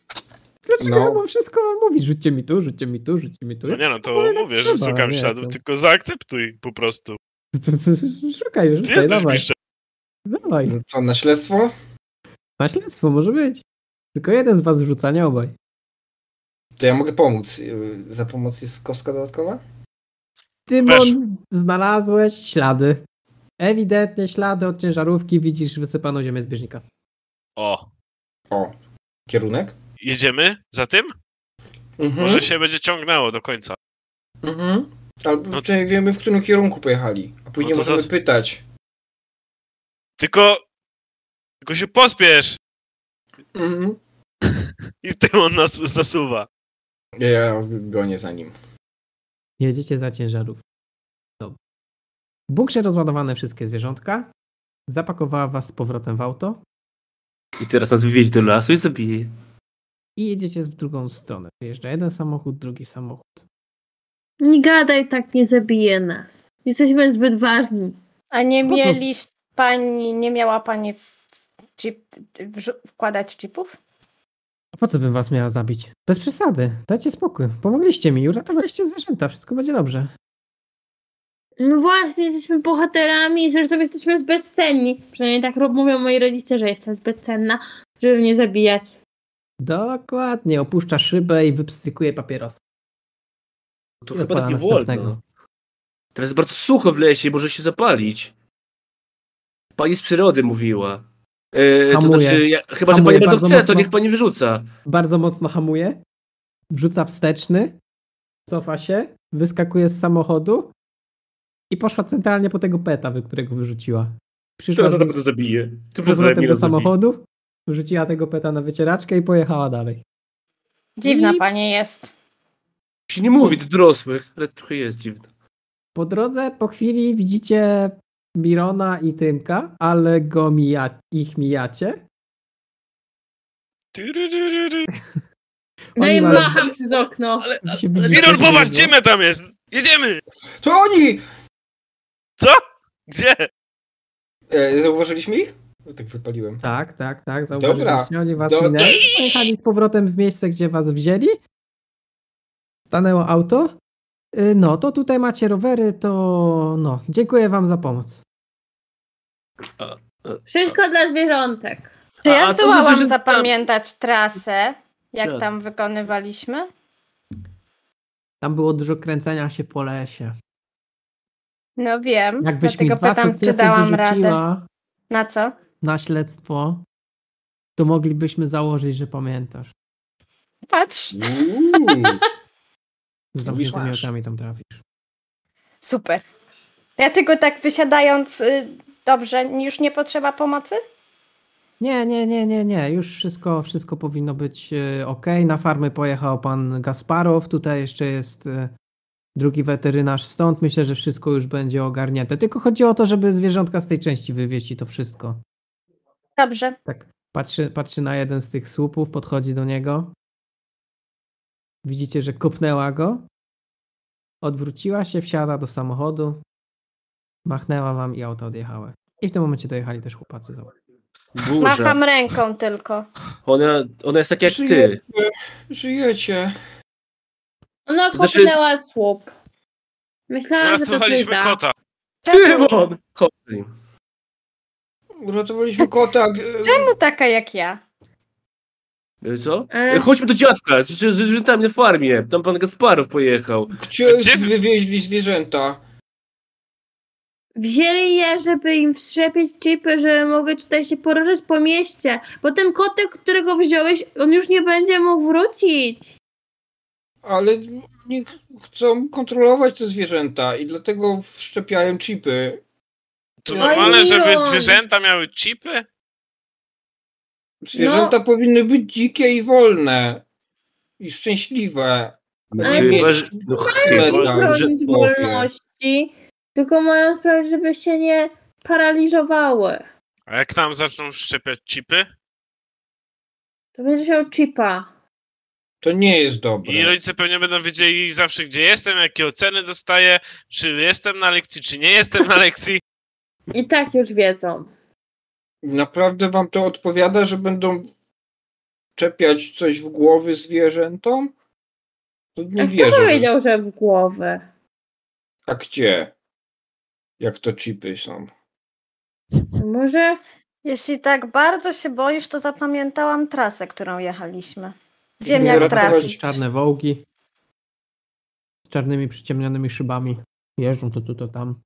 Dlaczego No. ja mam wszystko wam mówić? Rzućcie mi tu, rzućcie mi tu, rzućcie mi tu. No nie no, to powiem, jak mówię, że tak trzeba, szukam nie, śladów, to- tylko zaakceptuj po prostu. Szukaj, Ty rzucaj, jesteś dawaj. mistrzem. Dawaj. No Co, na śledztwo? Na śledztwo może być. Tylko jeden z was rzuca, nie obaj. To ja mogę pomóc. Y, Za pomoc jest kostka dodatkowa? Tymon, znalazłeś ślady. Ewidentnie ślady od ciężarówki widzisz wysypaną ziemię zbieżnika. O, O. Kierunek? jedziemy za tym? Mhm. Może się będzie ciągnęło do końca. Mhm. Albo No- przynajmniej wiemy, w którym kierunku pojechali. A później No to możemy zas- pytać. Tylko... Tylko się pospiesz! Mhm. I tym on nas zasuwa. Ja gonię za nim. Jedziecie za ciężarów. Dobrze. W bunkrze rozładowane wszystkie zwierzątka. Zapakowała was z powrotem w auto I teraz nas wywieźć do lasu i zabije. i jedziecie w drugą stronę. Wyjeżdża jeden samochód, drugi samochód. Nie gadaj, tak nie zabije nas. Jesteśmy zbyt ważni. A nie No to- mieliś pani, nie miała pani w chip, wrzu- wkładać chipów? A po co bym was miała zabić? Bez przesady. Dajcie spokój. Pomogliście mi, uratowaliście zwierzęta. Wszystko będzie dobrze. No właśnie, jesteśmy bohaterami, zresztą jesteśmy bezcenni. Przynajmniej tak rob- mówią moi rodzice, że jestem zbytcenna, żeby mnie zabijać. Dokładnie. Opuszcza szybę i wypstrykuje papierosa. To I chyba odpala tak nie następnego. wolno. Teraz jest bardzo sucho w lesie, może się zapalić. Pani z przyrody mówiła. E, to Hamuje. znaczy, ja, chyba, że Hamuje pani bardzo bardzo chce, to mocno. niech pani wyrzuca. Bardzo mocno hamuje. Wrzuca wsteczny. Cofa się. Wyskakuje z samochodu. I poszła centralnie po tego peta, wy- którego wyrzuciła. Przyszła z nim zabije. Ty z powrotem do samochodu. Wrzuciła tego peta na wycieraczkę i pojechała dalej. Dziwna I- pani jest. się nie mówi do dorosłych, ale trochę jest dziwne. Po drodze po chwili widzicie Mirona i Tymka, ale go mija, ich mijacie. Tyryryryry. No Oni i mają- macham przez okno. Ale, Wy ale się widzicie Miron, drugiego. popatrz, gdzie tam jest! Jedziemy! To oni! Gdzie? E, zauważyliśmy ich? Tak wypaliłem. Tak, tak, tak, Dobra. zauważyliście, oni was Do- minęli, pojechali z powrotem w miejsce, gdzie was wzięli, stanęło auto, Y, no to tutaj macie rowery, to no, dziękuję wam za pomoc. Wszystko dla zwierzątek. Czy A- a co ja to znaczy, za zdołałam zwierzę- zapamiętać trasę, Co? jak tam wykonywaliśmy? Tam było dużo kręcenia się po lesie. No wiem, Jakbyś mi dlatego dwa pytam, czy sukcesy dałam radę. wyrzuciła Na co? na śledztwo, to moglibyśmy założyć, że pamiętasz. Patrz, Uuu. Z zamkniętymi Wyszłaś. oczami tam trafisz. super. Ja tylko tak wysiadając, y, dobrze, już nie potrzeba pomocy? Nie, nie, nie, nie, nie. Już wszystko, wszystko powinno być ok. Na farmy pojechał pan Gasparow. Tutaj jeszcze jest y, drugi weterynarz stąd. Myślę, że wszystko już będzie ogarnięte. Tylko chodzi o to, żeby zwierzątka z tej części wywieźć i to wszystko. Dobrze. Tak. Patrzy, patrzy na jeden z tych słupów, podchodzi do niego. Widzicie, że kopnęła go. Odwróciła się, wsiada do samochodu. Machnęła wam i auto odjechały. I w tym momencie dojechali też chłopacy za Burza. Macham ręką tylko. Ona, ona jest tak jak ty. Żyjecie. Ona To znaczy- kopnęła słup. Myślałam, że no to Uratowaliśmy pyta. kota. Czemu, Demon! Chodź. Uratowaliśmy kota. g- czemu taka jak ja? E, Co? E. E, Chodźmy do dziadka, z z- z zwierzętami na farmie. Tam pan Gasparow pojechał. Gdzie Gdzie- wywieźli zwierzęta? Wzięli je, żeby im wszczepić chipy, że mogę tutaj się poruszać po mieście. Bo ten kotek, którego wziąłeś, on już nie będzie mógł wrócić. Ale oni ch- chcą kontrolować te zwierzęta i dlatego wszczepiają chipy. To Oj, No normalne, żeby Miron. zwierzęta miały chipy? Zwierzęta No. powinny być dzikie i wolne. I szczęśliwe. Ale Nie ty- Chyba, mieć- że- no, Ale Nie tak, chyba, że... bronić mówię. wolności, tylko mają sprawić, żeby się nie paraliżowały. A jak nam zaczną wszczepiać chipy? To będzie miał chipa. To nie jest dobre. I rodzice pewnie będą wiedzieli zawsze, gdzie jestem, jakie oceny dostaję, czy jestem na lekcji, czy nie jestem na lekcji. I tak już wiedzą. Naprawdę wam to odpowiada, że będą czepiać coś w głowy zwierzętom? To nie A wierzę. kto że- powiedział, że w głowę? A gdzie? Jak to chipy są? Może Jeśli tak bardzo się boisz, to zapamiętałam trasę, którą jechaliśmy. Wiem, Nie jak ratować- trafić. czarne wołgi z czarnymi przyciemnionymi szybami. Jeżdżą to tu, to tam.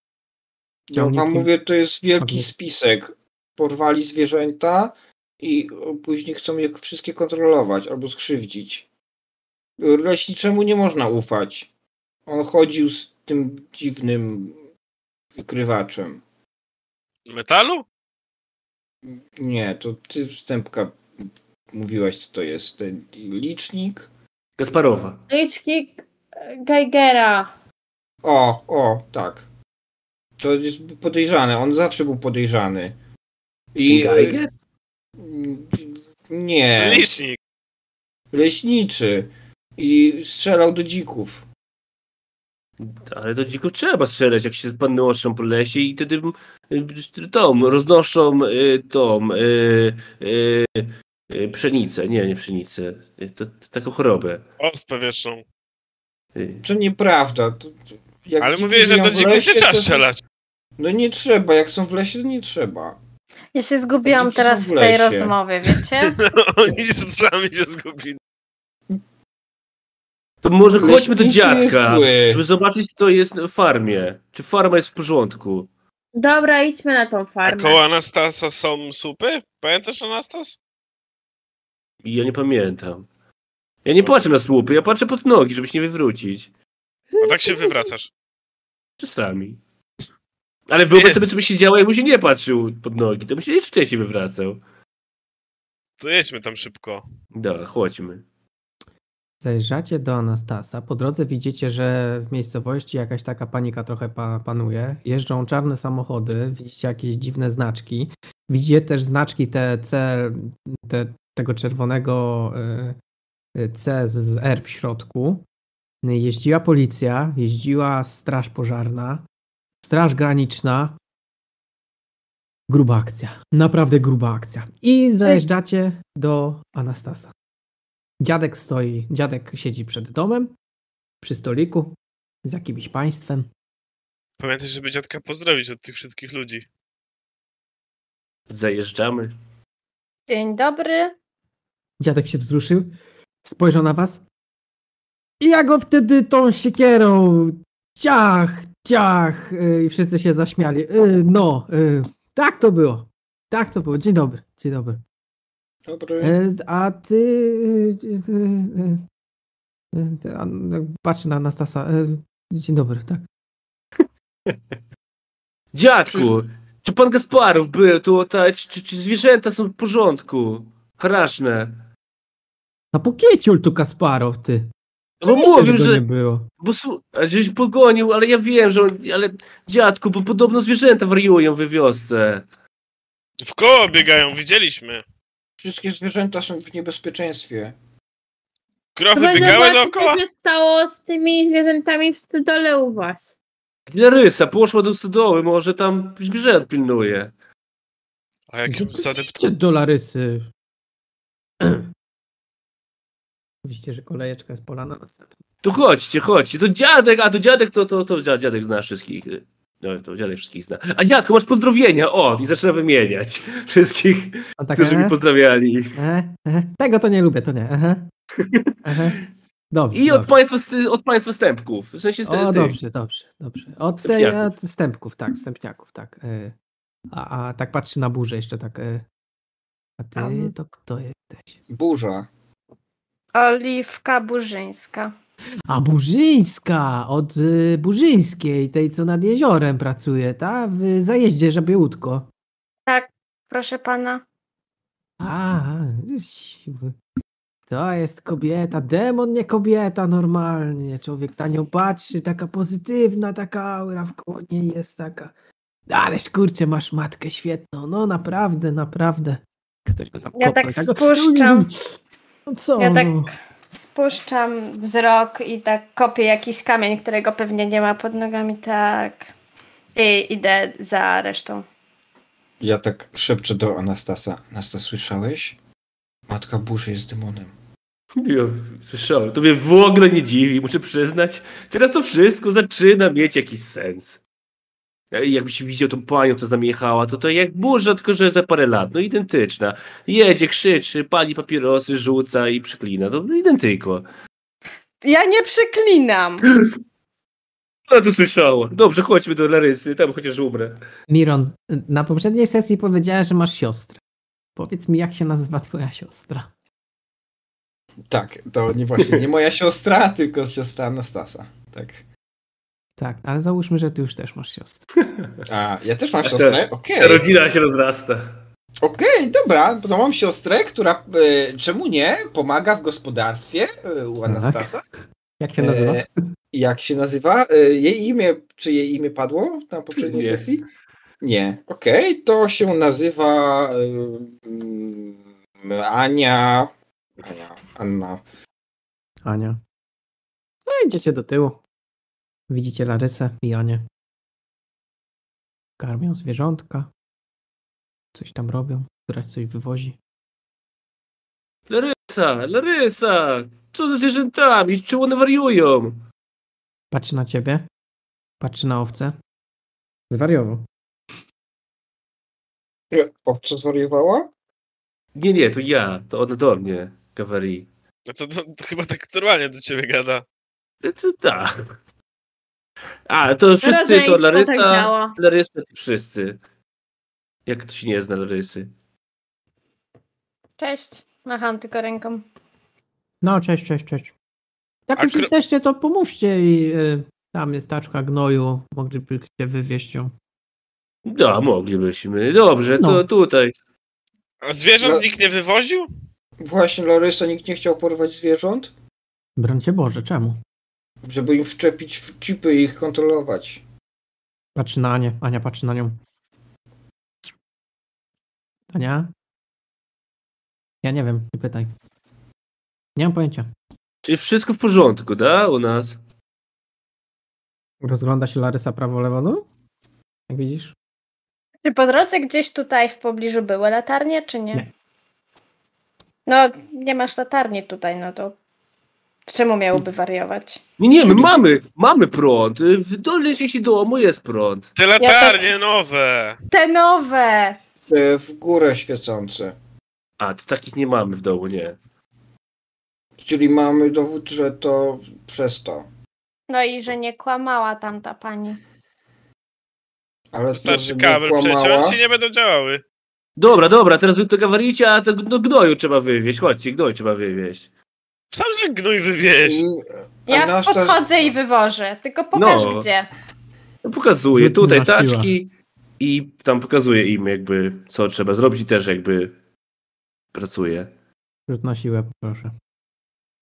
Ja wam Ciągniki. mówię, to jest wielki Ognie. spisek. Porwali zwierzęta i o, później chcą je wszystkie kontrolować albo skrzywdzić. Leśniczemu nie można ufać. On chodził z tym dziwnym wykrywaczem. Metalu? Nie, to ty wstępka mówiłaś, co to jest. Ten licznik? Gasparowa. Liczki e, Geigera. O, o, tak. To jest podejrzane. On zawsze był podejrzany. I. e, Geiger? Nie. Licznik. Leśniczy. I strzelał do dzików. Ale do dzików trzeba strzelać, jak się panny łoszczą po lesie i wtedy y, tą, roznoszą y, tą y, y, y, pszenicę, nie, nie pszenicę, y, to, to, taką chorobę. Ospę wieczną. Y, To nieprawda. To, to, jak Ale dziki mówię, że żyją do w dzików lesie, nie trzeba to są- strzelać. No nie trzeba, jak są w lesie, to nie trzeba. Ja się zgubiłam Dzieci są teraz w w tej lesie. rozmowie, wiecie? Oni sami się zgubili. To może chodźmy do Leśniczy jest dziadka, zły. żeby zobaczyć, co jest w farmie. Czy farma jest w porządku? Dobra, idźmy na tą A farmę. koło Anastasa są supy? Pamiętasz Anastas? I ja nie pamiętam. Ja nie patrzę na słupy, ja patrzę pod nogi, żeby się nie wywrócić. A tak się wywracasz. Czasami. Ale wyobraź Nie. sobie, co by się działo, jakbym się nie patrzył pod nogi. To bym się jeszcze częściej wywracał. To jedźmy tam szybko. Dobra, chodźmy. Zajrzacie do Anastasa. Po drodze widzicie, że w miejscowości jakaś taka panika trochę pa- panuje. Jeżdżą czarne samochody, widzicie jakieś dziwne znaczki. Widzicie też znaczki te C, te, tego czerwonego y, y, C z- z R w środku. Jeździła policja, jeździła straż pożarna, straż graniczna. Gruba akcja. Naprawdę gruba akcja. I zajeżdżacie do Anastasa. Dziadek stoi, dziadek siedzi przed domem, przy stoliku, z jakimś państwem. Pamiętaj, żeby dziadka pozdrowić od tych wszystkich ludzi. Zajeżdżamy. Dzień dobry. Dziadek się wzruszył, spojrzał na was. I ja go wtedy tą siekierą, ciach, ciach, yy, i wszyscy się zaśmiali. Yy, no, yy, tak to było, tak to było, dzień dobry, dzień dobry. Dobry. E, A ty. e, e, e, ty- a, no, Patrzę na Anastasa. e, Dzień dobry, tak. Dziadku, czy pan Gasparów był tutaj? Czy, czy, czy zwierzęta są w porządku? Straszne. A po kieciul tu Kasparow, ty. No Bo Oczywiście, mówił, go że. nie było. Bo su- a żeś pogonił, ale ja wiem, że. On, ale dziadku, bo podobno zwierzęta wariują we wiosce. W koło biegają, widzieliśmy. Wszystkie zwierzęta są w niebezpieczeństwie. Krowy Trzeba biegały zobaczyć, dookoła. co się stało z tymi zwierzętami w stodole u was. Ile rysa poszła do stodoły, może tam zwierzęt pilnuje. A jak ją zadept... Gdzie dolarysy? Widzicie, że kolejeczka jest polana następna. To chodźcie, chodźcie. To dziadek, a to dziadek to, to, to dzia- dziadek zna wszystkich. No, to dziadek wszystkich zna. A dziadku, masz pozdrowienia. O, i zaczyna wymieniać wszystkich, A tak, którzy mi e, pozdrawiali. e, e, tego to nie lubię, to nie. Aha. Aha. Dobrze, I od dobrze. państwa, st- od państwa stępków. W sensie O, st- tych. dobrze, dobrze, dobrze. Od tej Stępniaków. od stępków, tak, stępniaków, tak. e. A, a tak patrzy na burzę jeszcze tak. e. A ty Tam. to kto jesteś? Burza. Oliwka Burzyńska. A Burzyńska, od y, Burzyńskiej, tej co nad jeziorem pracuje, ta? W zajeździe Żabiełutko. Tak, proszę pana. A, siły. to jest kobieta, demon nie kobieta normalnie. Człowiek na nią patrzy, taka pozytywna, taka aura w koło niej jest taka. Ależ kurczę, masz matkę świetną, no naprawdę, naprawdę. Ktoś go tam Ja tak kopnął, spuszczam. No co? Ja tak- no? Spuszczam wzrok i tak kopię jakiś kamień, którego pewnie nie ma pod nogami, tak. I idę za resztą. Ja tak szepczę do Anastasa. Anastas, słyszałeś? Matka burzy jest demonem. Ja słyszałem, to mnie w ogóle nie dziwi, muszę przyznać. Teraz to wszystko zaczyna mieć jakiś sens. Ej, Jakbyś widział tą panią, która z nami jechała, to to jak burza, tylko że za parę lat, no identyczna. Jedzie, krzyczy, pali papierosy, rzuca i przyklina, to identyko. Ja nie przeklinam! No to słyszałem. Dobrze, chodźmy do Larysy, tam chociaż umrę. Miron, na poprzedniej sesji powiedziałeś, że masz siostrę. Powiedz mi, jak się nazywa twoja siostra? Tak, to nie właśnie nie moja siostra, tylko siostra Anastasa. Tak. Tak, ale załóżmy, że ty już też masz siostrę. A, ja też mam siostrę? Okej. Rodzina się rozrasta. Okej, dobra, bo to mam siostrę, która, e, czemu nie, pomaga w gospodarstwie e, u Anastasa. Tak. Jak się nazywa? E, jak się nazywa? E, jej imię, czy jej imię padło na poprzedniej Nie. sesji? Nie. Okej, to się nazywa e, mm, Ania... Ania, Anna. Ania. No idziecie do tyłu. Widzicie Larysę i Anię. Karmią zwierzątka. Coś tam robią. Któraś coś wywozi. Larysa, Larysa! Co ze zwierzętami? Czy one wariują? Patrzy na ciebie. Patrzy na owce. Zwariował. E, Owca zwariowała? Nie, nie, to ja. To one do mnie, Kawari. No to, to, to chyba tak normalnie do ciebie gada. To tak. A, to wszyscy to Larysa. tak działa. Larysy to wszyscy. Jak ktoś nie zna Larysy. Cześć. Macham tylko ręką. No, cześć, cześć, cześć. Jak A już kro- jesteście, to pomóżcie i y, tam jest taczka gnoju. Moglibyście wywieźć ją. No, moglibyśmy. Dobrze, No. to tutaj. A zwierząt No. nikt nie wywoził? Właśnie, Larysa, nikt nie chciał porwać zwierząt, Broń cię Boże, czemu? żeby im wszczepić w chipy i ich kontrolować. Patrzy na Anię. Ania patrzy na nią. Ania? Ja nie wiem, nie pytaj. Nie mam pojęcia. Czyli wszystko w porządku, da? U nas. Rozgląda się Larysa prawo, lewo, no? Jak widzisz? Czy po drodze gdzieś tutaj w pobliżu były latarnie, czy nie? Nie. No, nie masz latarni tutaj, no to czemu Hmm. miałoby wariować? Nie, nie, my mamy, mamy prąd. W dolnej części domu jest prąd. Te tak- latarnie nowe! Te nowe! E, w górę świecące. A, to takich nie mamy w domu, nie. Czyli mamy dowód, że to przez to. No i że nie kłamała tamta pani. Ale Wystarczy żeby kabel kłamała- przeciąć i nie będą działały. Dobra, dobra, teraz wy to gawaricie, a to gno- gnoju trzeba wywieźć. Chodźcie, gnoj trzeba wywieźć. Sam że gnój wywieź. Ja nasz to- podchodzę i wywożę, tylko pokaż No. gdzie. No, Pokazuję Zbytnia tutaj siła. taczki i tam pokazuję im jakby, co trzeba zrobić i też jakby pracuję. Rzut na siłę, proszę.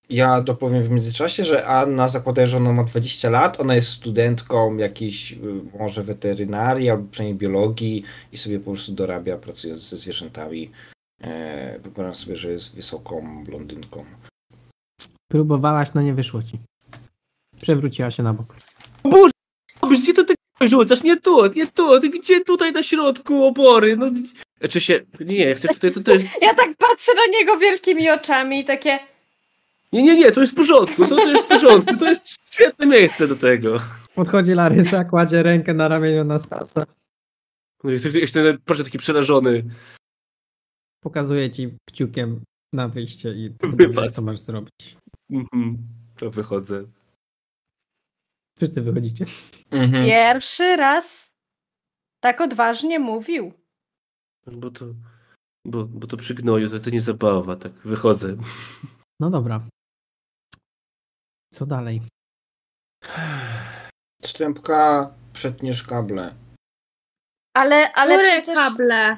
Ja dopowiem w międzyczasie, że Anna zakłada, że ona ma 20 lat, ona jest studentką jakiejś y, może weterynarii albo przynajmniej biologii i sobie po prostu dorabia pracując ze zwierzętami. E, Wyobrażam sobie, że jest wysoką blondynką. Próbowałaś, no nie wyszło ci. Przewróciła się na bok. Boże, gdzie to ty rzucasz? Nie tu, nie tu, ty gdzie tutaj na środku opory? No, czy się, nie, jak chcesz tutaj, to też, Ja tak patrzę na niego wielkimi oczami i takie nie, nie, nie, to jest w porządku, to, to jest w porządku, to jest świetne miejsce do tego. Podchodzi Larysa, kładzie rękę na ramieniu Anastasa. No i tak- jeszcze, proszę, taki przerażony. Pokazuje ci kciukiem na wyjście i ty Wypadł. wiesz, co masz zrobić. Mhm. To wychodzę. Wszyscy wychodzicie. Mhm. pierwszy raz tak odważnie mówił. Bo to, bo, bo to przy gnoju, to, to nie zabawa, tak, wychodzę. No dobra. Co dalej? Stępka, przetniesz kable. Ale, ale Które przecież... kable?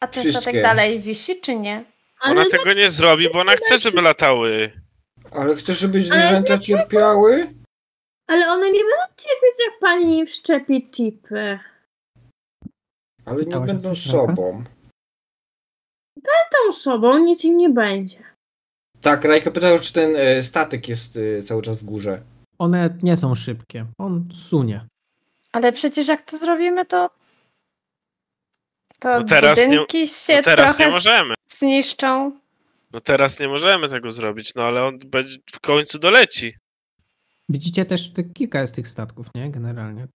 A ten statek Wszystkie. dalej wisi, czy nie? Ale Ona no tego nie zrobi, bo ona chce, żeby latały. Ale chcesz, żeby Ale zwierzęta dlaczego? cierpiały? Ale one nie będą cierpieć, jak pani im wszczepi chipy. Ale nie Pytałaś o będą coś, Ranka? sobą. Tą sobą nic im nie będzie. Tak, Rajka pytał, czy ten e, statek jest e, cały czas w górze. One nie są szybkie. On sunie. Ale przecież jak to zrobimy, to... To No teraz nie- budynki się No teraz nie trochę możemy. zniszczą. No teraz nie możemy tego zrobić, no ale on będzie w końcu doleci. Widzicie też te, kilka jest tych statków, nie? Generalnie.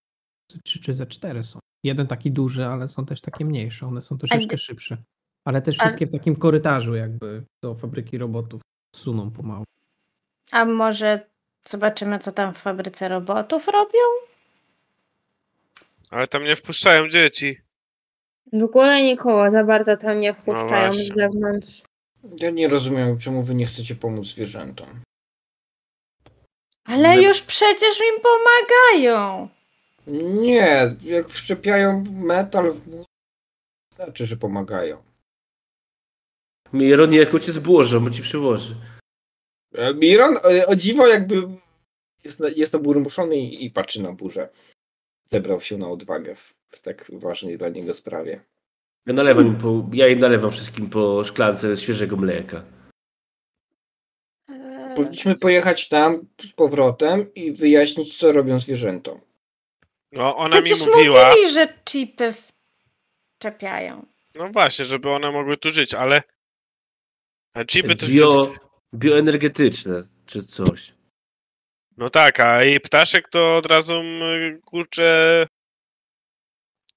Ze Trzy czy ze cztery są. Jeden taki duży, ale są też takie mniejsze. One są troszeczkę gdy- szybsze. Ale też Ale- wszystkie w takim korytarzu jakby do fabryki robotów suną pomału. A może zobaczymy, co tam w fabryce robotów robią? Ale tam nie wpuszczają dzieci. W ogóle nikogo za bardzo tam nie wpuszczają właśnie. z zewnątrz. Ja nie rozumiem, czemu wy nie chcecie pomóc zwierzętom. Ale My- już przecież im pomagają. Nie, jak wszczepiają metal w mózg, to znaczy, że pomagają. Mironi jak ojciec błożą, bo ci przyłoży. E, Miron e, o dziwo jakby jest, na- jest oburmuszony i, i patrzy na burzę. Zebrał się na odwagę w, w tak ważnej dla niego sprawie. Ja nalewam im po, ja im nalewam wszystkim po szklance świeżego mleka. Powinniśmy pojechać tam z powrotem i wyjaśnić, co robią zwierzętom. No, ona mi Przecież mówiła. mówili, że chipy wczepiają. No właśnie, żeby one mogły tu żyć, ale. A chipy to. Bio, bioenergetyczne czy coś. No tak, a i ptaszek to od razu mm, kurczę.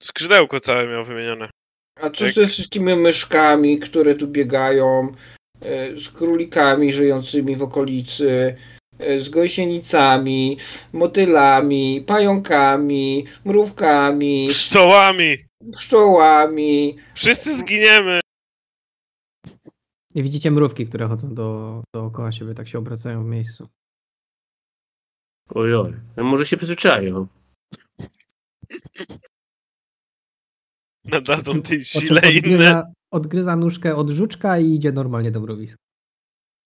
Skrzydełko całe miał wymienione. A co Tak. ze wszystkimi myszkami, które tu biegają, e, z królikami żyjącymi w okolicy, e, z gąsienicami, motylami, pająkami, mrówkami, Pszczołami! pszczołami. Wszyscy zginiemy! I widzicie mrówki, które chodzą do, dookoła siebie, tak się obracają w miejscu. Ojoj, no może się przyzwyczają. Nadadzą tej Po czym sile inne. odgryza, odgryza nóżkę od żuczka i idzie normalnie do mrowiska.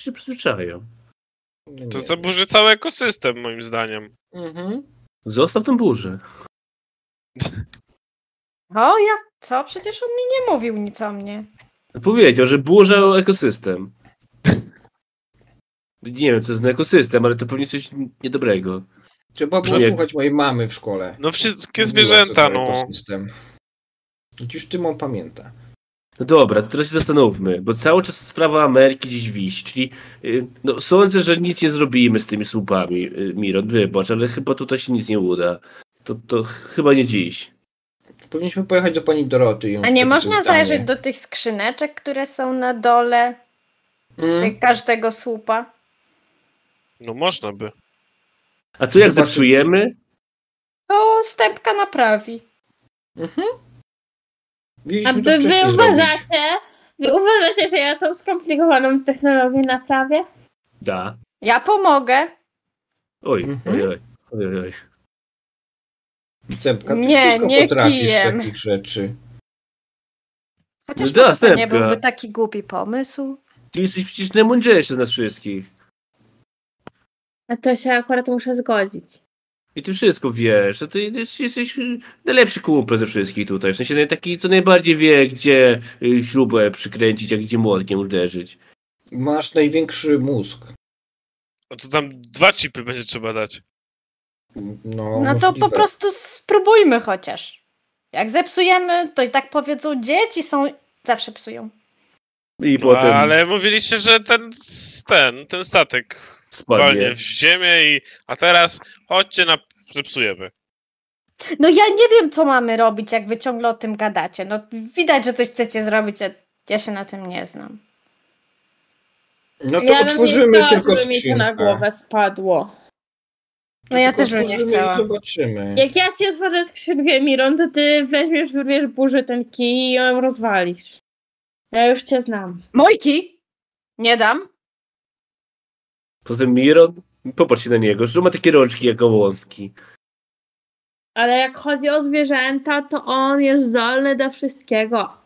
Się przyzwyczają. No To nie zaburzy cały ekosystem, moim zdaniem. wiem. Mhm. Zostaw tą burzę. O, ja co? Przecież on mi nie mówił nic o mnie. Powiedział, że burza o ekosystem. Nie wiem, co jest na ekosystem, ale to pewnie coś niedobrego. Trzeba było Nie. słuchać mojej mamy w szkole. No wszystkie Mówiła, co zwierzęta, za no. ekosystem. Przecież ty mam pamięta. No dobra, to teraz się zastanówmy, bo cały czas sprawa Ameryki dziś wisi, czyli y, no, sądzę, że nic nie zrobimy z tymi słupami, y, Miron, wybacz, ale chyba tutaj się nic nie uda. To, to chyba nie dziś. Powinniśmy pojechać do pani Doroty. i ją A nie spytać o można zdanie. zajrzeć do tych skrzyneczek, które są na dole Mm. tych- każdego słupa? No można by. A co jak Zobaczymy. zepsujemy? To stępka naprawi. A Mieliśmy wy, to wy wcześniej zrobić. uważacie, wy uważacie, że ja tą skomplikowaną technologię naprawię? Da. Ja pomogę. Oj, Mhm. oj, oj, oj, oj. Stępka, ty Nie, wszystko nie potrafisz kijem. takich rzeczy. Chociaż No da, może to nie stępka. byłby taki głupi pomysł. Ty jesteś przecież najmądrzejszy z nas wszystkich. A to się akurat muszę zgodzić. I ty wszystko wiesz, to ty jesteś, jesteś y, najlepszy kumpel ze wszystkich tutaj. W sensie naj- taki, co najbardziej wie, gdzie y, śrubę przykręcić, a gdzie młotkiem uderzyć. Masz największy mózg. A No to tam dwa chipy będzie trzeba dać. No, No to po możliwe. prostu spróbujmy chociaż. Jak zepsujemy, to i tak powiedzą dzieci są... Zawsze psują. I No, potem ale mówiliście, że ten, s- ten, ten statek walnie spadnie. w ziemię i... A teraz chodźcie na... zepsujemy. No ja nie wiem, co mamy robić, jak wy ciągle o tym gadacie. No widać, że coś chcecie zrobić, a ja się na tym nie znam. No to ja bym nie otworzymy chciała, tylko żeby mi to na skrzynkę. głowę spadło. No ja Tylko też bym nie otworzymy i chciała. Zobaczymy. Jak ja ci otworzę skrzynkę, Miron, to ty weźmiesz, wyrwiesz burzy ten kij i ją rozwalisz. Ja już cię znam. Mojki! Nie dam. Poza tym Miron, popatrz się na niego, że ma takie rączki jak wąski. Ale jak chodzi o zwierzęta, to on jest zdolny do wszystkiego.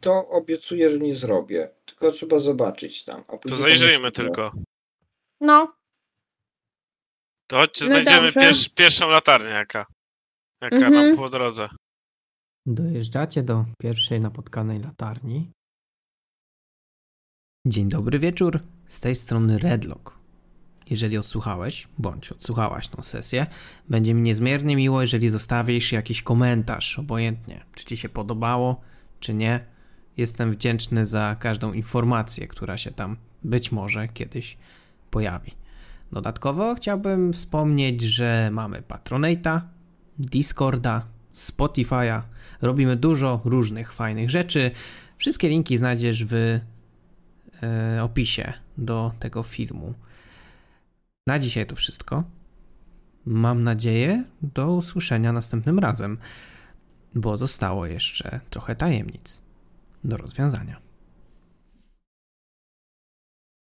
To obiecuję, że nie zrobię. Tylko trzeba zobaczyć tam. a To później zajrzyjmy pomyślimy. tylko. No. To chodźcie, No znajdziemy dobrze. pierwsz, pierwszą latarnię jaka. Jaka nam Mhm. po drodze. Dojeżdżacie do pierwszej napotkanej latarni. Dzień dobry wieczór, z tej strony Redlock. Jeżeli odsłuchałeś, bądź odsłuchałaś tą sesję, będzie mi niezmiernie miło, jeżeli zostawisz jakiś komentarz, obojętnie, czy ci się podobało, czy nie. Jestem wdzięczny za każdą informację, która się tam być może kiedyś pojawi. Dodatkowo chciałbym wspomnieć, że mamy Patronate'a, Discorda, Spotify'a. Robimy dużo różnych fajnych rzeczy. Wszystkie linki znajdziesz w e, opisie do tego filmu. Na dzisiaj to wszystko. Mam nadzieję do usłyszenia następnym razem, bo zostało jeszcze trochę tajemnic do rozwiązania.